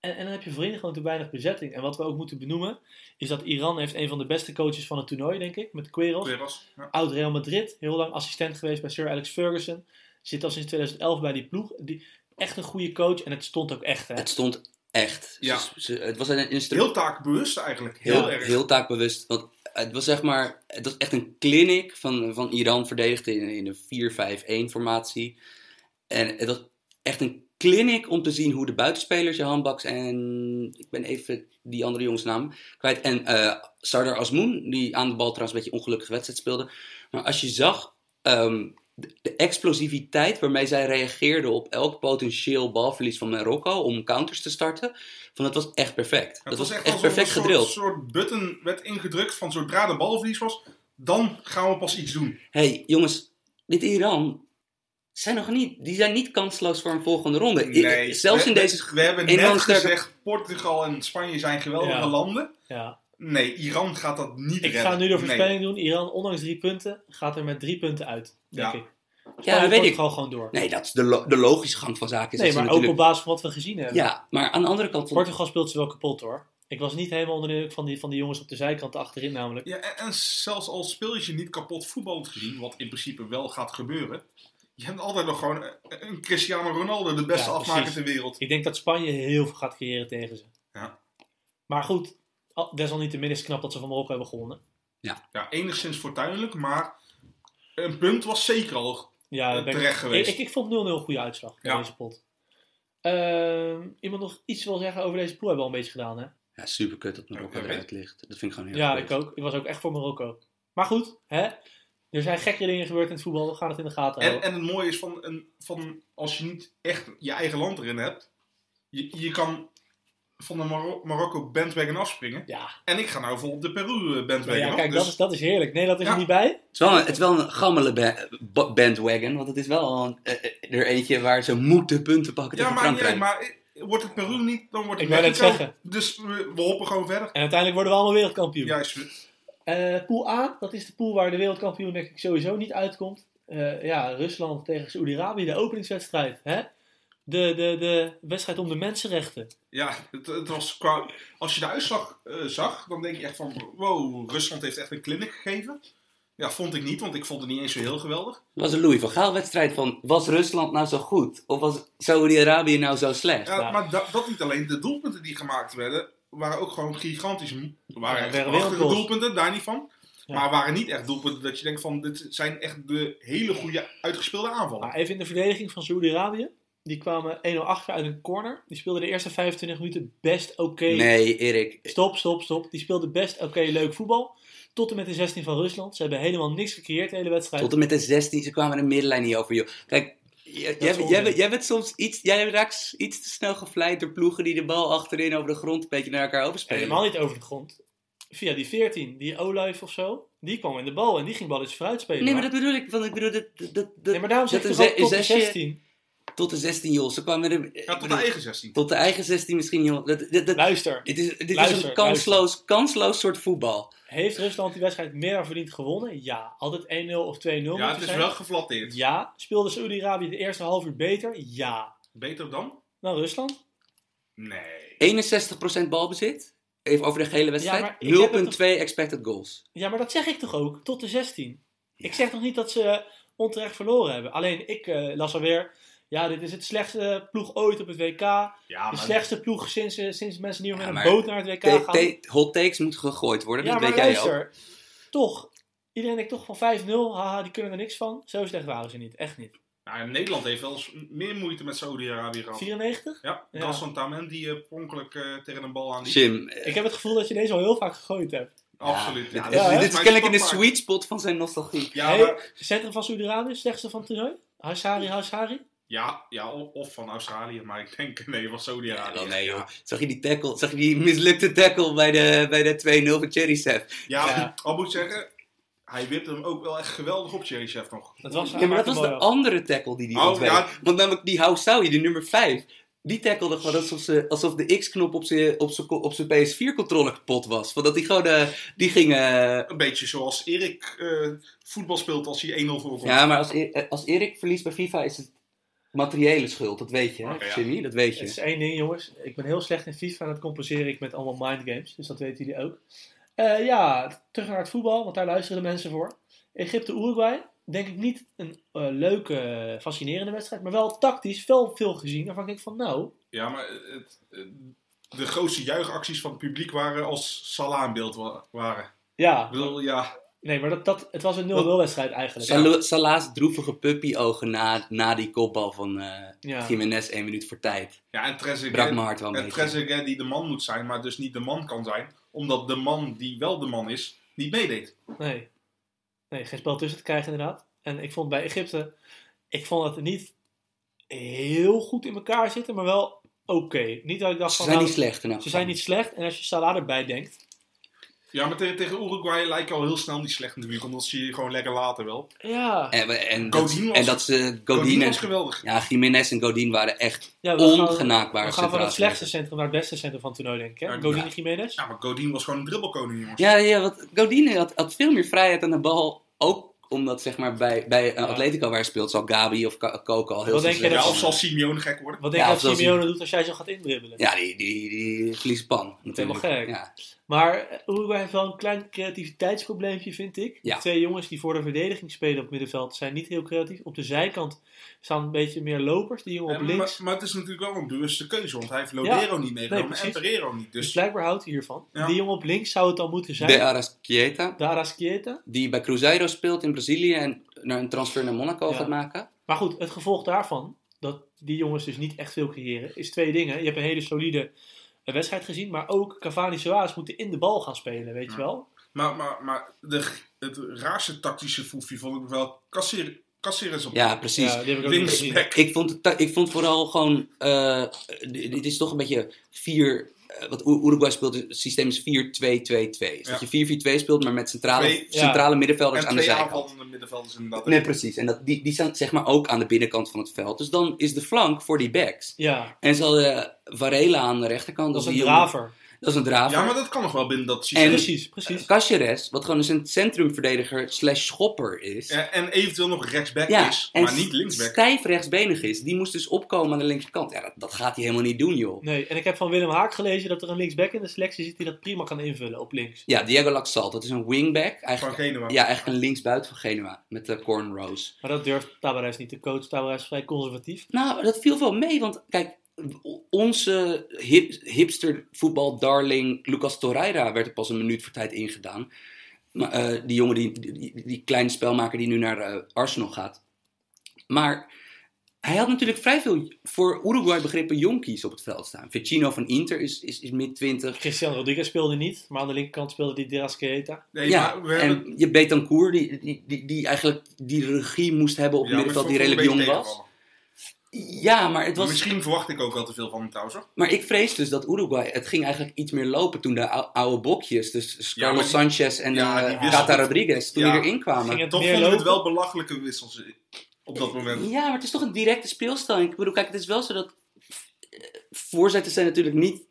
A: En, en dan heb je voorin gewoon te weinig bezetting. En wat we ook moeten benoemen, is dat Iran heeft een van de beste coaches van het toernooi, denk ik, met Queiroz.
B: Queiroz, ja.
A: Oud Real Madrid, heel lang assistent geweest bij Sir Alex Ferguson. Zit al sinds 2011 bij die ploeg. Die, echt een goede coach en het stond ook echt, hè.
C: Het stond echt.
B: Ja.
C: Ze- ze- het was een instrument.
B: Heel taakbewust eigenlijk. Heel
C: heel,
B: erg.
C: heel taakbewust. Want het was zeg maar, het was echt een clinic van, van Iran verdedigd in, in een 4-5-1 formatie. En het was echt een clinic om te zien hoe de buitenspelers, Johan Baks en ik ben even die andere jongens naam kwijt. En eh, Sardar Azmoun, die aan de bal trouwens een beetje ongelukkige wedstrijd speelde. Maar als je zag ehm, de, de explosiviteit waarmee zij reageerden op elk potentieel balverlies van Marokko om counters te starten, van dat was echt perfect.
B: Het
C: dat was echt,
B: alsof
C: perfect
B: een
C: gedrild.
B: soort, soort button werd ingedrukt van zodra de balverlies was, dan gaan we pas iets doen.
C: Hé, hey, jongens, dit Iran zijn nog niet, die zijn niet kansloos voor een volgende ronde. I- Eh, Zelfs
B: we,
C: in deze...
B: We hebben
C: in
B: net
C: onze sterke-
B: gezegd, Portugal en Spanje zijn geweldige
A: Ja.
B: landen.
A: Ja.
B: Nee, Iran gaat dat niet
A: Ik
B: redden.
A: ga nu de
B: Nee.
A: voorspelling doen. Iran, ondanks drie punten, gaat er met drie punten uit, denk
B: Ja.
A: ik.
C: Ja, dat weet ik.
A: Portugal gewoon door.
C: Nee, dat is de, lo- de logische gang van zaken. Is
A: Nee,
C: dat
A: maar
C: ze
A: ook op
C: natuurlijk...
A: basis van wat we gezien hebben.
C: Ja, maar aan de andere kant... Van...
A: Portugal speelt ze wel kapot hoor. Ik was niet helemaal onder de indruk van die, van die jongens op de zijkant achterin namelijk.
B: Ja, en, en zelfs al speel je ze niet kapot voetballend gezien, wat in principe wel gaat gebeuren, je hebt altijd nog gewoon een- een Cristiano Ronaldo, de beste
A: Ja,
B: afmaker
A: precies.
B: ter wereld.
A: Ik denk dat Spanje heel veel gaat creëren tegen ze.
B: Ja.
A: Maar goed, al- desalniettemin is het knap dat ze van Marokko hebben gewonnen.
B: Ja, enigszins fortuinlijk, maar een punt was zeker al
A: Ja,
B: eh,
A: daar ben ik-
B: terecht
A: ik,
B: geweest.
A: ik, ik vond 0-0 een goede uitslag in
B: Ja.
A: deze pot. Ehm, iemand nog iets wil zeggen over deze pool? Hebben we al een beetje gedaan hè?
C: Ja, super kut dat Marokko
B: Ja, weet-
C: eruit ligt. Dat vind ik gewoon heel
A: Ja,
C: kut.
A: ik ook. Ik was ook echt voor Marokko. Maar goed, hè? er zijn gekkere dingen gebeurd in het voetbal. We gaan het in de gaten
B: En,
A: houden.
B: en het mooie is van, een,
A: Mm.
B: van als je niet echt je eigen land erin hebt, je, je kan van de Maro- Marokko bandwagon afspringen.
A: Ja,
B: En ik ga nou vol op de Peru eh, bandwagon
A: maar ja
B: af.
A: kijk,
B: dus
A: dat, is, dat is heerlijk. Nederland is
B: Ja.
A: er niet bij.
C: Het is wel een, het is wel een gammele ba- ba- bandwagon, want het is wel een, eh, eh, er eentje waar ze moeten punten pakken
B: ja,
C: tegen
B: maar niet
C: Frankrijk.
B: uit, maar eh, wordt het Peru niet, dan wordt het
A: Ik wou net
B: Mexico.
A: zeggen.
B: Dus we, we hoppen gewoon verder.
A: En uiteindelijk worden we allemaal wereldkampioen.
B: Juist.
A: Eh, pool A, dat is de pool waar de wereldkampioen denk ik sowieso niet uitkomt. Eh, ja, Rusland tegen Saoedi-Arabië, de openingswedstrijd. Hè? de, de, de wedstrijd om de mensenrechten.
B: Ja, het, het was qua, als je de uitslag eh, zag, dan denk je echt van, wow, Rusland heeft echt een clinic gegeven. Ja, vond ik niet, want ik vond het niet eens zo heel geweldig.
C: Het was een Louis van Gaal wedstrijd van, was Rusland nou zo goed? Of was Saudi-Arabië nou zo slecht?
B: Ja,
A: Ja.
B: Maar da- dat niet alleen, de doelpunten die gemaakt werden, waren ook gewoon gigantisch. Er waren
A: Ja,
B: echt
A: waren
B: prachtige
A: wereldgoals.
B: doelpunten, daar niet van.
A: Ja.
B: Maar waren niet echt doelpunten dat je denkt van, dit zijn echt de hele goede uitgespeelde aanvallen.
A: Maar even in de verdediging van Saudi-Arabië. Die kwamen 1-0 achter uit een corner. Die speelden de eerste 25 minuten best oké.
C: Nee, Erik.
A: Stop, stop, stop. Die speelden best oké, leuk voetbal. Tot en met de 16 van Rusland. Ze hebben helemaal niks gecreëerd de hele wedstrijd.
C: Tot en met de 16, ze kwamen de middenlijn niet over, joh. Kijk, jij, jij,
A: onzin.
C: jij, bent- jij bent soms iets, jij raakt iets te snel gevleid door ploegen die de bal achterin over de grond een beetje naar elkaar overspelen.
A: Helemaal niet over de grond. Via die 14, die Olaf of zo. Die kwam in de bal en die ging bal eens vooruit spelen.
C: Nee, maar dat bedoel ik. Want ik bedoel, dat, dat, dat,
A: Nee, maar daarom zeg ik
C: dat
A: toch
C: een
A: ook tot de
C: zesje-
A: 16.
C: tot de 16, joh. Ze kwamen er,
B: Ja, tot de eigen 16.
C: tot de eigen 16 misschien, joh. Dat, dat, dat-
A: Luister,
C: dit is, dit is
A: Luister,
C: een kansloos, kansloos soort voetbal.
A: heeft Rusland die wedstrijd meer dan verdiend gewonnen? Ja. Altijd 1-0 of 2-0
B: Ja,
A: moeten
B: het is
A: zijn?
B: wel geflatteerd.
A: Ja. Speelde Saudi-Arabië de eerste half uur beter? Ja.
B: Beter dan?
A: Nou, Rusland?
B: Nee.
C: 61% balbezit. Even over de gehele
A: maar
C: wedstrijd.
A: ik heb het
C: 0,2 expected goals.
A: Ja, maar dat zeg ik toch ook, tot de 16. Ik zeg toch niet dat ze eh, onterecht verloren hebben. Alleen ik eh, las alweer, ja, dit is het slechtste ploeg ooit op het WK.
B: Ja,
A: de
B: maar
A: slechtste ploeg sinds, eh, sinds mensen niet meer
C: Ja,
A: met
C: maar
A: een boot naar het WK
C: Ta-
A: gaan.
C: ta- Hot takes moeten gegooid worden,
A: ja,
C: dat
A: maar
C: weet jij ook.
A: luister, toch. Iedereen denkt toch van 5-0, haha, die kunnen er niks van. Zo slecht waren ze niet, echt niet.
B: Nou, Nederland heeft wel eens meer moeite met Saudi-Arabië gehad.
A: 94?
B: Ja,
A: Ja.
B: Gaston Tamen die eh, per ongeluk eh, tegen een bal aan die.
C: Jim, eh,
A: Ik heb het gevoel dat je deze al heel vaak gegooid hebt.
B: Absoluut.
C: ja,
B: Ja,
C: dit,
A: ja, hè?
C: dit is
B: Maar
C: kennelijk in
B: het
C: de
B: is toch
C: sweet spot van zijn nostalgie.
B: maar- Ja,
A: Hey,
B: maar-
A: Centrum van Saudi-Arabië, slechtste van het toernooi? Hassari, Hassari?
B: ja, ja o- of van Australië, maar ik denk nee, van
C: Ja,
B: Saudi-Arabië.
C: wel nee, joh. Zag je die tackle, zag je die mislukte tackle bij de, bij de 2-0 van Cherry Seth?
B: Ja,
A: Ja.
B: al moet ik zeggen, hij wipte hem ook wel echt geweldig op, Cherry Chef nog.
A: Dat was,
C: Ja, maar dat was de
A: mooi af.
C: andere tackle die die
B: Oh,
C: ontweek.
B: ja.
C: Want namelijk die Houssaui, de nummer 5, die tackelde gewoon alsof, ze, alsof de X-knop op zijn op zijn- op zijn PS4-controller kapot was. Want dat die gewoon, eh, die ging... eh,
B: Een beetje zoals Erik eh, voetbal speelt als hij 1-0 voorkomt.
C: Ja, maar als, E- eh, als Erik verliest bij FIFA is het materiële schuld. Dat weet je, hè,
B: Oké, ja.
C: Jimmy? Dat weet
A: Het is
C: je.
A: één ding, jongens. Ik ben heel slecht in FIFA en dat compenseer ik met allemaal mindgames. Dus dat weten jullie ook. Eh, ja, terug naar het voetbal, want daar luisteren de mensen voor. Egypte-Uruguay. Denk ik niet een eh, leuke, fascinerende wedstrijd. Maar wel tactisch, wel veel gezien. Waarvan ik denk van, nou...
B: Ja, maar het, het- de grootste juichacties van het publiek waren als Salah in beeld wa- waren. Ik
A: Ja,
B: bedoel, ja,
A: nee, maar dat, dat, het was een 0-0 wedstrijd eigenlijk.
C: Salo- Salah's droevige puppy-ogen na, na die kopbal van eh
A: Ja.
C: Jiménez één minuut voor tijd.
B: ja en Trezeguet...
C: Brak mijn hart wel een
B: En
C: beetje.
B: Trezeguet die de man moet zijn, maar dus niet de man kan zijn. Omdat de man die wel de man is, niet meedeed.
A: Nee. Nee, geen spel tussen te krijgen inderdaad. En ik vond bij Egypte, ik vond dat het niet heel goed in elkaar zitten, maar wel oké. Niet dat ik dacht
C: Ze
A: van,
C: zijn
A: nou,
C: niet slecht. in elk
A: ze
C: geval.
A: zijn niet slecht. En als je Salah erbij denkt,
B: Ja, maar tegen, tegen Uruguay lijkt al heel snel niet slecht natuurlijk. Omdat ze je gewoon lekker laten wel.
A: ja.
C: En, we- en, dat,
B: Godin was-
C: en dat ze Godin
B: Godin was
C: en...
B: geweldig.
C: Ja, Jiménez en Godin waren echt
A: ja
C: ongenaakbare
A: we gaan van het
C: centrale
A: slechtste centrum naar het beste centrum van het toernooi, denk ik. Hè?
B: Ja,
A: Godin
C: ja.
A: Jiménez.
B: Ja, maar Godin was gewoon een dribbelkoning, jongens.
C: Ja, ja want Godine had, had veel meer vrijheid aan de bal. Ook omdat zeg maar, bij, bij eh,
A: Ja.
C: Atletico waar hij speelt, zal Gabi of Ka- Koko al heel
A: Wat
C: veel
A: denk je
C: slechter
B: Ja,
A: dat-
B: of zal
C: zijn.
B: Simeone gek worden?
A: Wat denk
C: Ja,
A: je
C: of
A: dat
C: dat
A: Simeone doet als jij zo gaat indribbelen?
C: Ja, die, die, die verliezen pan. natuurlijk.
A: helemaal gek.
C: Ja.
A: Maar eh, Uruguay heeft wel een klein creativiteitsprobleempje, vind ik.
C: Ja.
A: De twee jongens die voor de verdediging spelen op het middenveld zijn niet heel creatief. Op de zijkant staan een beetje meer lopers. Die jongen op
B: Ja, Eh, maar,
A: links.
B: maar het is natuurlijk wel een bewuste keuze, want hij heeft Lodero niet meegenomen
A: Nee,
B: en
A: precies.
B: Pereiro niet.
A: Dus
B: Dus
A: blijkbaar houdt hij hiervan.
B: Ja.
A: Die jongen op links zou het dan moeten zijn.
C: De Arasquieta,
A: De Arrasquieta.
C: die bij Cruzeiro speelt in Brazilië en naar een transfer naar Monaco
A: Ja.
C: gaat maken.
A: Maar goed, het gevolg daarvan, dat die jongens dus niet echt veel creëren, is twee dingen. Je hebt een hele solide eh, wedstrijd gezien, maar ook Cavani Suarez moeten in de bal gaan spelen, weet je
B: Ja.
A: wel.
B: maar, maar, maar de, het raarste tactische foefje vond ik wel Casser- Caceres op
C: Ja, precies.
A: Ja, die heb ik ook niet gezien.
B: linksback.
C: Ik, vond het ta- ik vond vooral gewoon, eh, dit dit is toch een beetje vier, eh, wat Oer- Uruguay speelt, het systeem is 4-2-2-2. Dus
B: Ja.
C: dat je 4-4-2 speelt, maar met centrale,
B: Twee-
A: ja.
C: centrale middenvelders
B: En
C: aan de
B: twee
C: zijkant.
B: aanvallende middenvelders inderdaad.
C: Nee, precies. En dat, die, die staan zeg maar ook aan de binnenkant van het veld. Dus dan is de flank voor die backs.
A: Ja,
C: En ze hadden Varela aan de rechterkant.
A: dat is
C: dus
A: een
C: die jongen-
A: draver.
C: Dat is een draver.
B: Ja, maar dat kan nog wel binnen dat
C: En-
B: systeem.
A: Precies, precies.
C: Caceres, wat gewoon dus een centrumverdediger slash schopper is.
B: En, en eventueel nog rechtsback
C: Ja,
B: is,
C: en
B: maar niet linksback.
C: stijf rechtsbenig is. Die moest dus opkomen aan de linkerkant. Ja, dat, dat gaat hij helemaal niet doen, joh.
A: Nee, en ik heb van Willem Haak gelezen dat er een linksback in de selectie zit die dat prima kan invullen op links.
C: Ja, Diego Laxalt, dat is een wingback.
B: Van
C: Eigenlijk,
B: Genua.
C: ja, eigenlijk een linksbuiten van Genua met de Cornrows.
A: Maar dat durft Tabarez niet. De coach Tabarez is vrij conservatief.
C: Nou, dat viel wel mee, want kijk, onze hip, hipster voetbaldarling Lucas Torreira werd er pas een minuut voor tijd ingedaan. Maar, eh, die jongen, die, die, die kleine spelmaker die nu naar eh, Arsenal gaat. Maar hij had natuurlijk vrij veel voor Uruguay begrippen jonkies op het veld staan. Vecino van Inter is, is, is mid 20.
A: Christian Rodriguez speelde niet, maar aan de linkerkant speelde die Derasqueta.
B: Nee,
C: Ja,
B: maar we hebben...
C: en je Betancourt, die, die, die, die eigenlijk die regie moest hebben op
B: ja,
C: het
B: maar
C: middenveld,
B: het
C: die
B: valt
C: redelijk
B: wel een
C: jong
B: beetje
C: was.
B: tegenvallen.
C: Ja, maar het was...
B: Misschien verwacht ik ook wel te veel van hem trouwens. hoor.
C: Maar ik vrees dus dat Uruguay, het ging eigenlijk iets meer lopen toen de ou- oude bokjes, dus
B: Ja, maar
C: Carlos
B: die-
C: Sanchez en
B: ja,
C: eh,
B: die wissel-
C: Tata Rodriguez, toen
B: Ja.
C: die erin kwamen.
A: Ging het
B: Toch
A: meer
B: vonden we het
A: lopen?
B: wel belachelijke wissels eh, op dat moment.
C: Ja, maar het is toch een directe speelstelling. Ik bedoel, kijk, het is wel zo dat eh, voorzetten zijn natuurlijk niet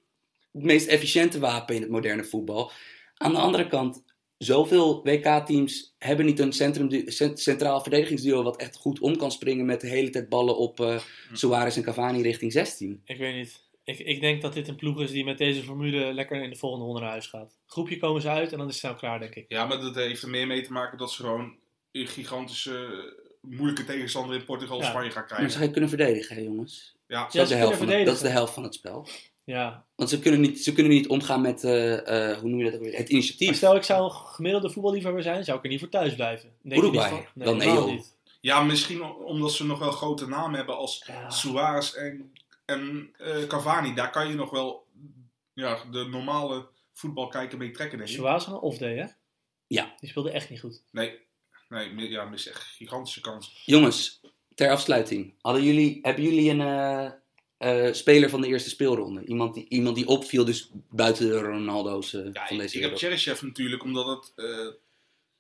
C: het meest efficiënte wapen in het moderne voetbal. Aan de andere kant, zoveel WK-teams hebben niet een centrum, cent- centraal verdedigingsduo wat echt goed om kan springen met de hele tijd ballen op eh Suarez en Cavani richting 16.
A: Ik weet niet. Ik, ik denk dat dit een ploeg is die met deze formule lekker in de volgende ronde naar huis gaat. Groepje komen ze uit en dan is het snel klaar, denk ik.
B: Ja, maar dat heeft er meer mee te maken dat ze gewoon een gigantische eh, moeilijke tegenstander in Portugal of
A: Ja.
B: Spanje gaan
C: Maar
B: krijgen.
C: ze gaan kunnen verdedigen, hè, jongens.
B: Ja,
A: Ja,
C: Dat is,
A: ze
C: de helft
A: kunnen
C: van het, dat is de
A: verdedigen.
C: helft van het spel.
A: Ja.
C: Want ze kunnen niet, ze kunnen niet omgaan met, eh, eh, hoe noem je dat ook weer? Het
A: Maar
C: initiatief.
A: stel, ik zou een gemiddelde voetballiefhebber zijn, zou ik er niet voor thuis blijven. Denk je niet
C: Uruguay.
A: van-
C: Dan nee,
A: helemaal
C: joh.
A: niet.
B: ja misschien o- omdat ze nog wel grote namen hebben als
A: Ja.
B: Suarez en, en eh, Cavani. Daar kan je nog wel ja, de normale voetbalkijker mee trekken, denk ik.
A: Suarez had een off-day, hè?
C: Ja.
A: Die speelde echt niet goed.
B: Nee, nee mi- ja, mis echt gigantische kans.
C: Jongens, ter afsluiting. Hadden jullie, hebben jullie een eh, eh, speler van de eerste speelronde? Iemand die, iemand die opviel, dus buiten de Ronaldo's eh,
B: Ja,
C: van
B: ik,
C: deze
B: ik heb
C: wereld?
B: Cheryshev natuurlijk, omdat het eh,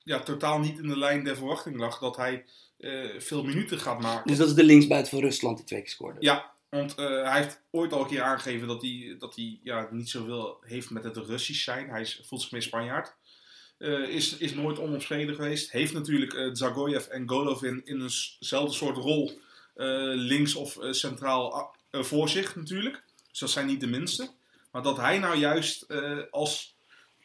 B: ja, totaal niet in de lijn der verwachting lag dat hij eh, veel minuten gaat maken.
C: Dus dat is de linksbuiten van Rusland die twee keer scoorde.
B: Ja, want eh, hij heeft ooit al een keer aangegeven dat hij, dat hij ja, niet zoveel heeft met het Russisch zijn. Hij is, voelt zich meer Spanjaard. Eh, is, is nooit onomstreden geweest. Heeft natuurlijk eh Zagoyev en Golovin in eenzelfde soort rol eh, links of eh, centraal a- eh, voor zich natuurlijk. Dus dat zijn niet de minste. Maar dat hij nou juist eh, als,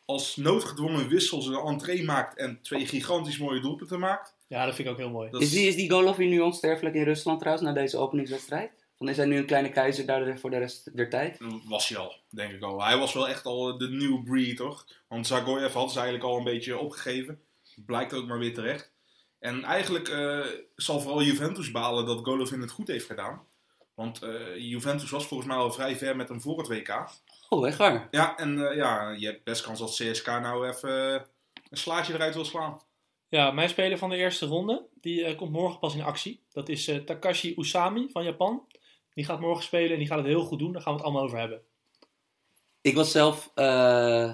B: als noodgedwongen wissel zijn entree maakt en twee gigantisch mooie doelpunten maakt.
A: Ja, dat vind ik ook heel mooi.
B: Dat
C: Is die, is die Golovin nu onsterfelijk in Rusland trouwens, na deze openingswedstrijd? Want is hij nu een kleine keizer daar voor de rest der tijd?
B: was hij al, denk ik al. Hij was wel echt al de nieuwe breed, toch? Want Zagoyev had ze eigenlijk al een beetje opgegeven. Blijkt ook maar weer terecht. En eigenlijk eh, zal vooral Juventus balen dat Golovin het goed heeft gedaan. Want eh, Juventus was volgens mij al vrij ver met hem voor het WK.
C: Oh, echt waar?
B: Ja, en eh, ja, je hebt best kans dat CSK nou even eh, een slaatje eruit wil slaan.
A: Ja, mijn speler van de eerste ronde, die eh, komt morgen pas in actie. Dat is eh, Takashi Usami van Japan. Die gaat morgen spelen en die gaat het heel goed doen. Daar gaan we het allemaal over hebben.
C: Ik was zelf. eh,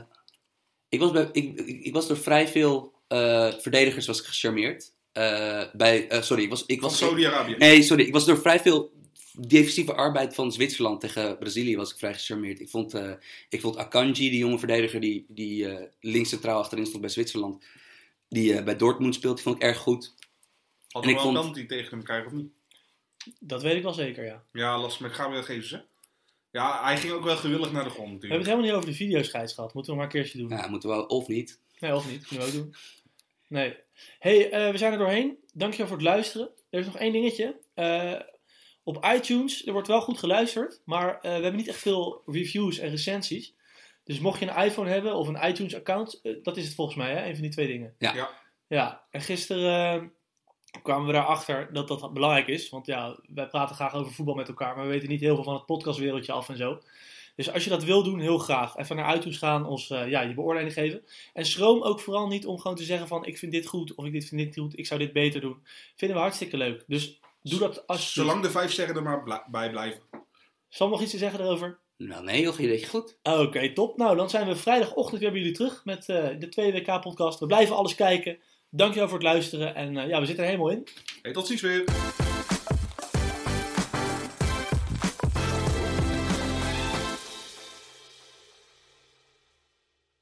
C: ik, was bij, ik, ik, ik was door vrij veel eh, verdedigers was ik gecharmeerd. Eh, bij, eh, sorry, ik was. Ik
B: Van
C: was
B: Saudi-Arabië.
C: nee, sorry. Ik was door vrij veel defensieve arbeid van Zwitserland tegen Brazilië was ik vrij gecharmeerd. Ik vond, eh, ik vond Akanji, die jonge verdediger die, die eh, links centraal achterin stond bij Zwitserland. Die eh, bij Dortmund speelt, die vond ik erg goed.
B: Had
C: en
B: hij
C: ik
B: wel een
C: vond-
B: penalty tegen hem krijgen of niet?
A: Dat weet ik wel zeker, ja.
B: Ja, last met Gabriel Jesus, hè? Ja, hij ging ook wel gewillig naar de grond
A: We hebben
B: natuurlijk.
A: het helemaal niet over de videoscheids gehad. Moeten we maar een keertje doen.
C: Ja, moeten we wel of niet.
A: Nee, of niet. Kunnen we ook doen. Nee. hey, eh, we zijn er doorheen. Dankjewel voor het luisteren. Er is nog één dingetje. Eh, op iTunes, er wordt wel goed geluisterd, maar eh, we hebben niet echt veel reviews en recensies. Dus mocht je een iPhone hebben of een iTunes-account, eh, dat is het volgens mij, hè? een van die twee dingen.
C: Ja.
B: Ja.
A: Ja, en gisteren eh, kwamen we erachter dat dat belangrijk is. Want ja, wij praten graag over voetbal met elkaar, maar we weten niet heel veel van het podcastwereldje af en zo. Dus als je dat wil doen, heel graag. Even naar iTunes gaan, ons eh, ja, je beoordeling geven. En schroom ook vooral niet om gewoon te zeggen van ik vind dit goed of ik dit vind dit goed, ik zou dit beter doen. Vinden we hartstikke leuk. Dus doe dat als
B: Zolang de vijf sterren er maar bla- bij blijven.
A: Sam nog iets te zeggen erover?
C: Nou, nee, joh, je deed je goed.
A: Oké, top. Nou, dan zijn we vrijdagochtend weer bij jullie terug met eh, de 2WK-podcast. We blijven alles kijken. Dankjewel voor het luisteren. En eh, ja, we zitten er helemaal in.
B: Hey, tot ziens weer.